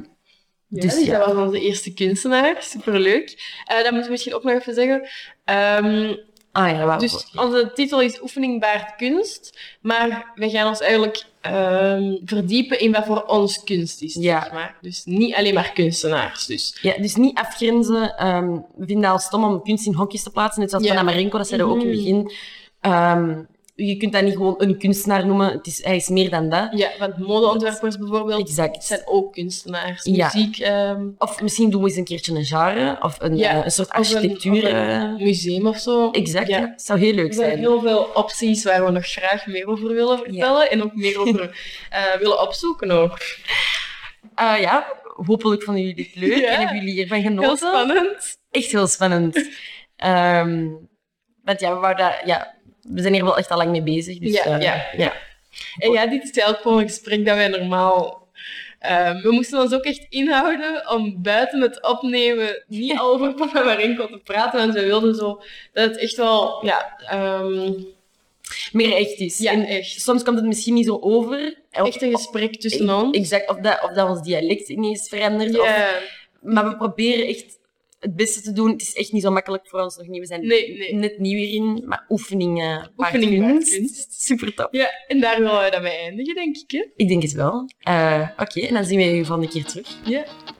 Ja, Dus dus ja. dat was onze eerste kunstenaar. Superleuk. Eh dat moeten we misschien ook nog even zeggen. Ehm, ah ja, wauw. dus onze titel is Oefening baart kunst. Maar we gaan ons eigenlijk ehm, verdiepen in wat voor ons kunst is. Ja. zeg maar. Dus niet alleen maar kunstenaars. Dus. Ja, dus niet afgrenzen. Ehm, we vinden het al stom om kunst in hokjes te plaatsen. Net zoals Ja. Mhm. Panamarenko, dat zeiden we ook in het begin. Ehm, je kunt dat niet gewoon een kunstenaar noemen. Het is, hij is meer dan dat. Ja, want modeontwerpers bijvoorbeeld Exact. zijn ook kunstenaars. Ja. Muziek, ehm, Of misschien doen we eens een keertje een genre. Of een, Ja. eh, een soort Of een- architectuur. of eh, museum of zo. exact. Ja. ja. Het zou heel leuk Er zijn zijn. heel veel opties waar we nog graag meer over willen vertellen. En ook meer *laughs* over eh, willen opzoeken ook. Ah, ja, hopelijk vonden jullie dit leuk. Ja. En hebben jullie hiervan Heel genoten. spannend. *laughs* Echt heel spannend. Ehm, want ja we, wou dat, ja, we zijn hier wel echt al lang mee bezig. Dus, Ja, eh, ja, ja. En ja, dit is eigenlijk gewoon een gesprek dat wij normaal... ehm, we moesten ons ook echt inhouden om buiten het opnemen *laughs* niet al over Papa Marenko te praten. Want we wilden zo dat het echt wel... Ja, ehm, Meer echt is. ja En echt. soms komt het misschien niet zo over. Of- Echt een gesprek tussen ons. Exact, of dat, of dat ons dialect ineens verandert. of- Ja. maar we proberen echt het beste te doen. Het is echt niet zo makkelijk voor ons nog niet. We zijn Nee, nee. net nieuw hierin, maar oefeningen. Oefening waard waard kunst. kunst. Super tof. Ja, en daar willen we dan mee eindigen, denk ik. Hè? Ik denk het wel. Eh, Oké, en dan zien we je volgende keer terug. Ja.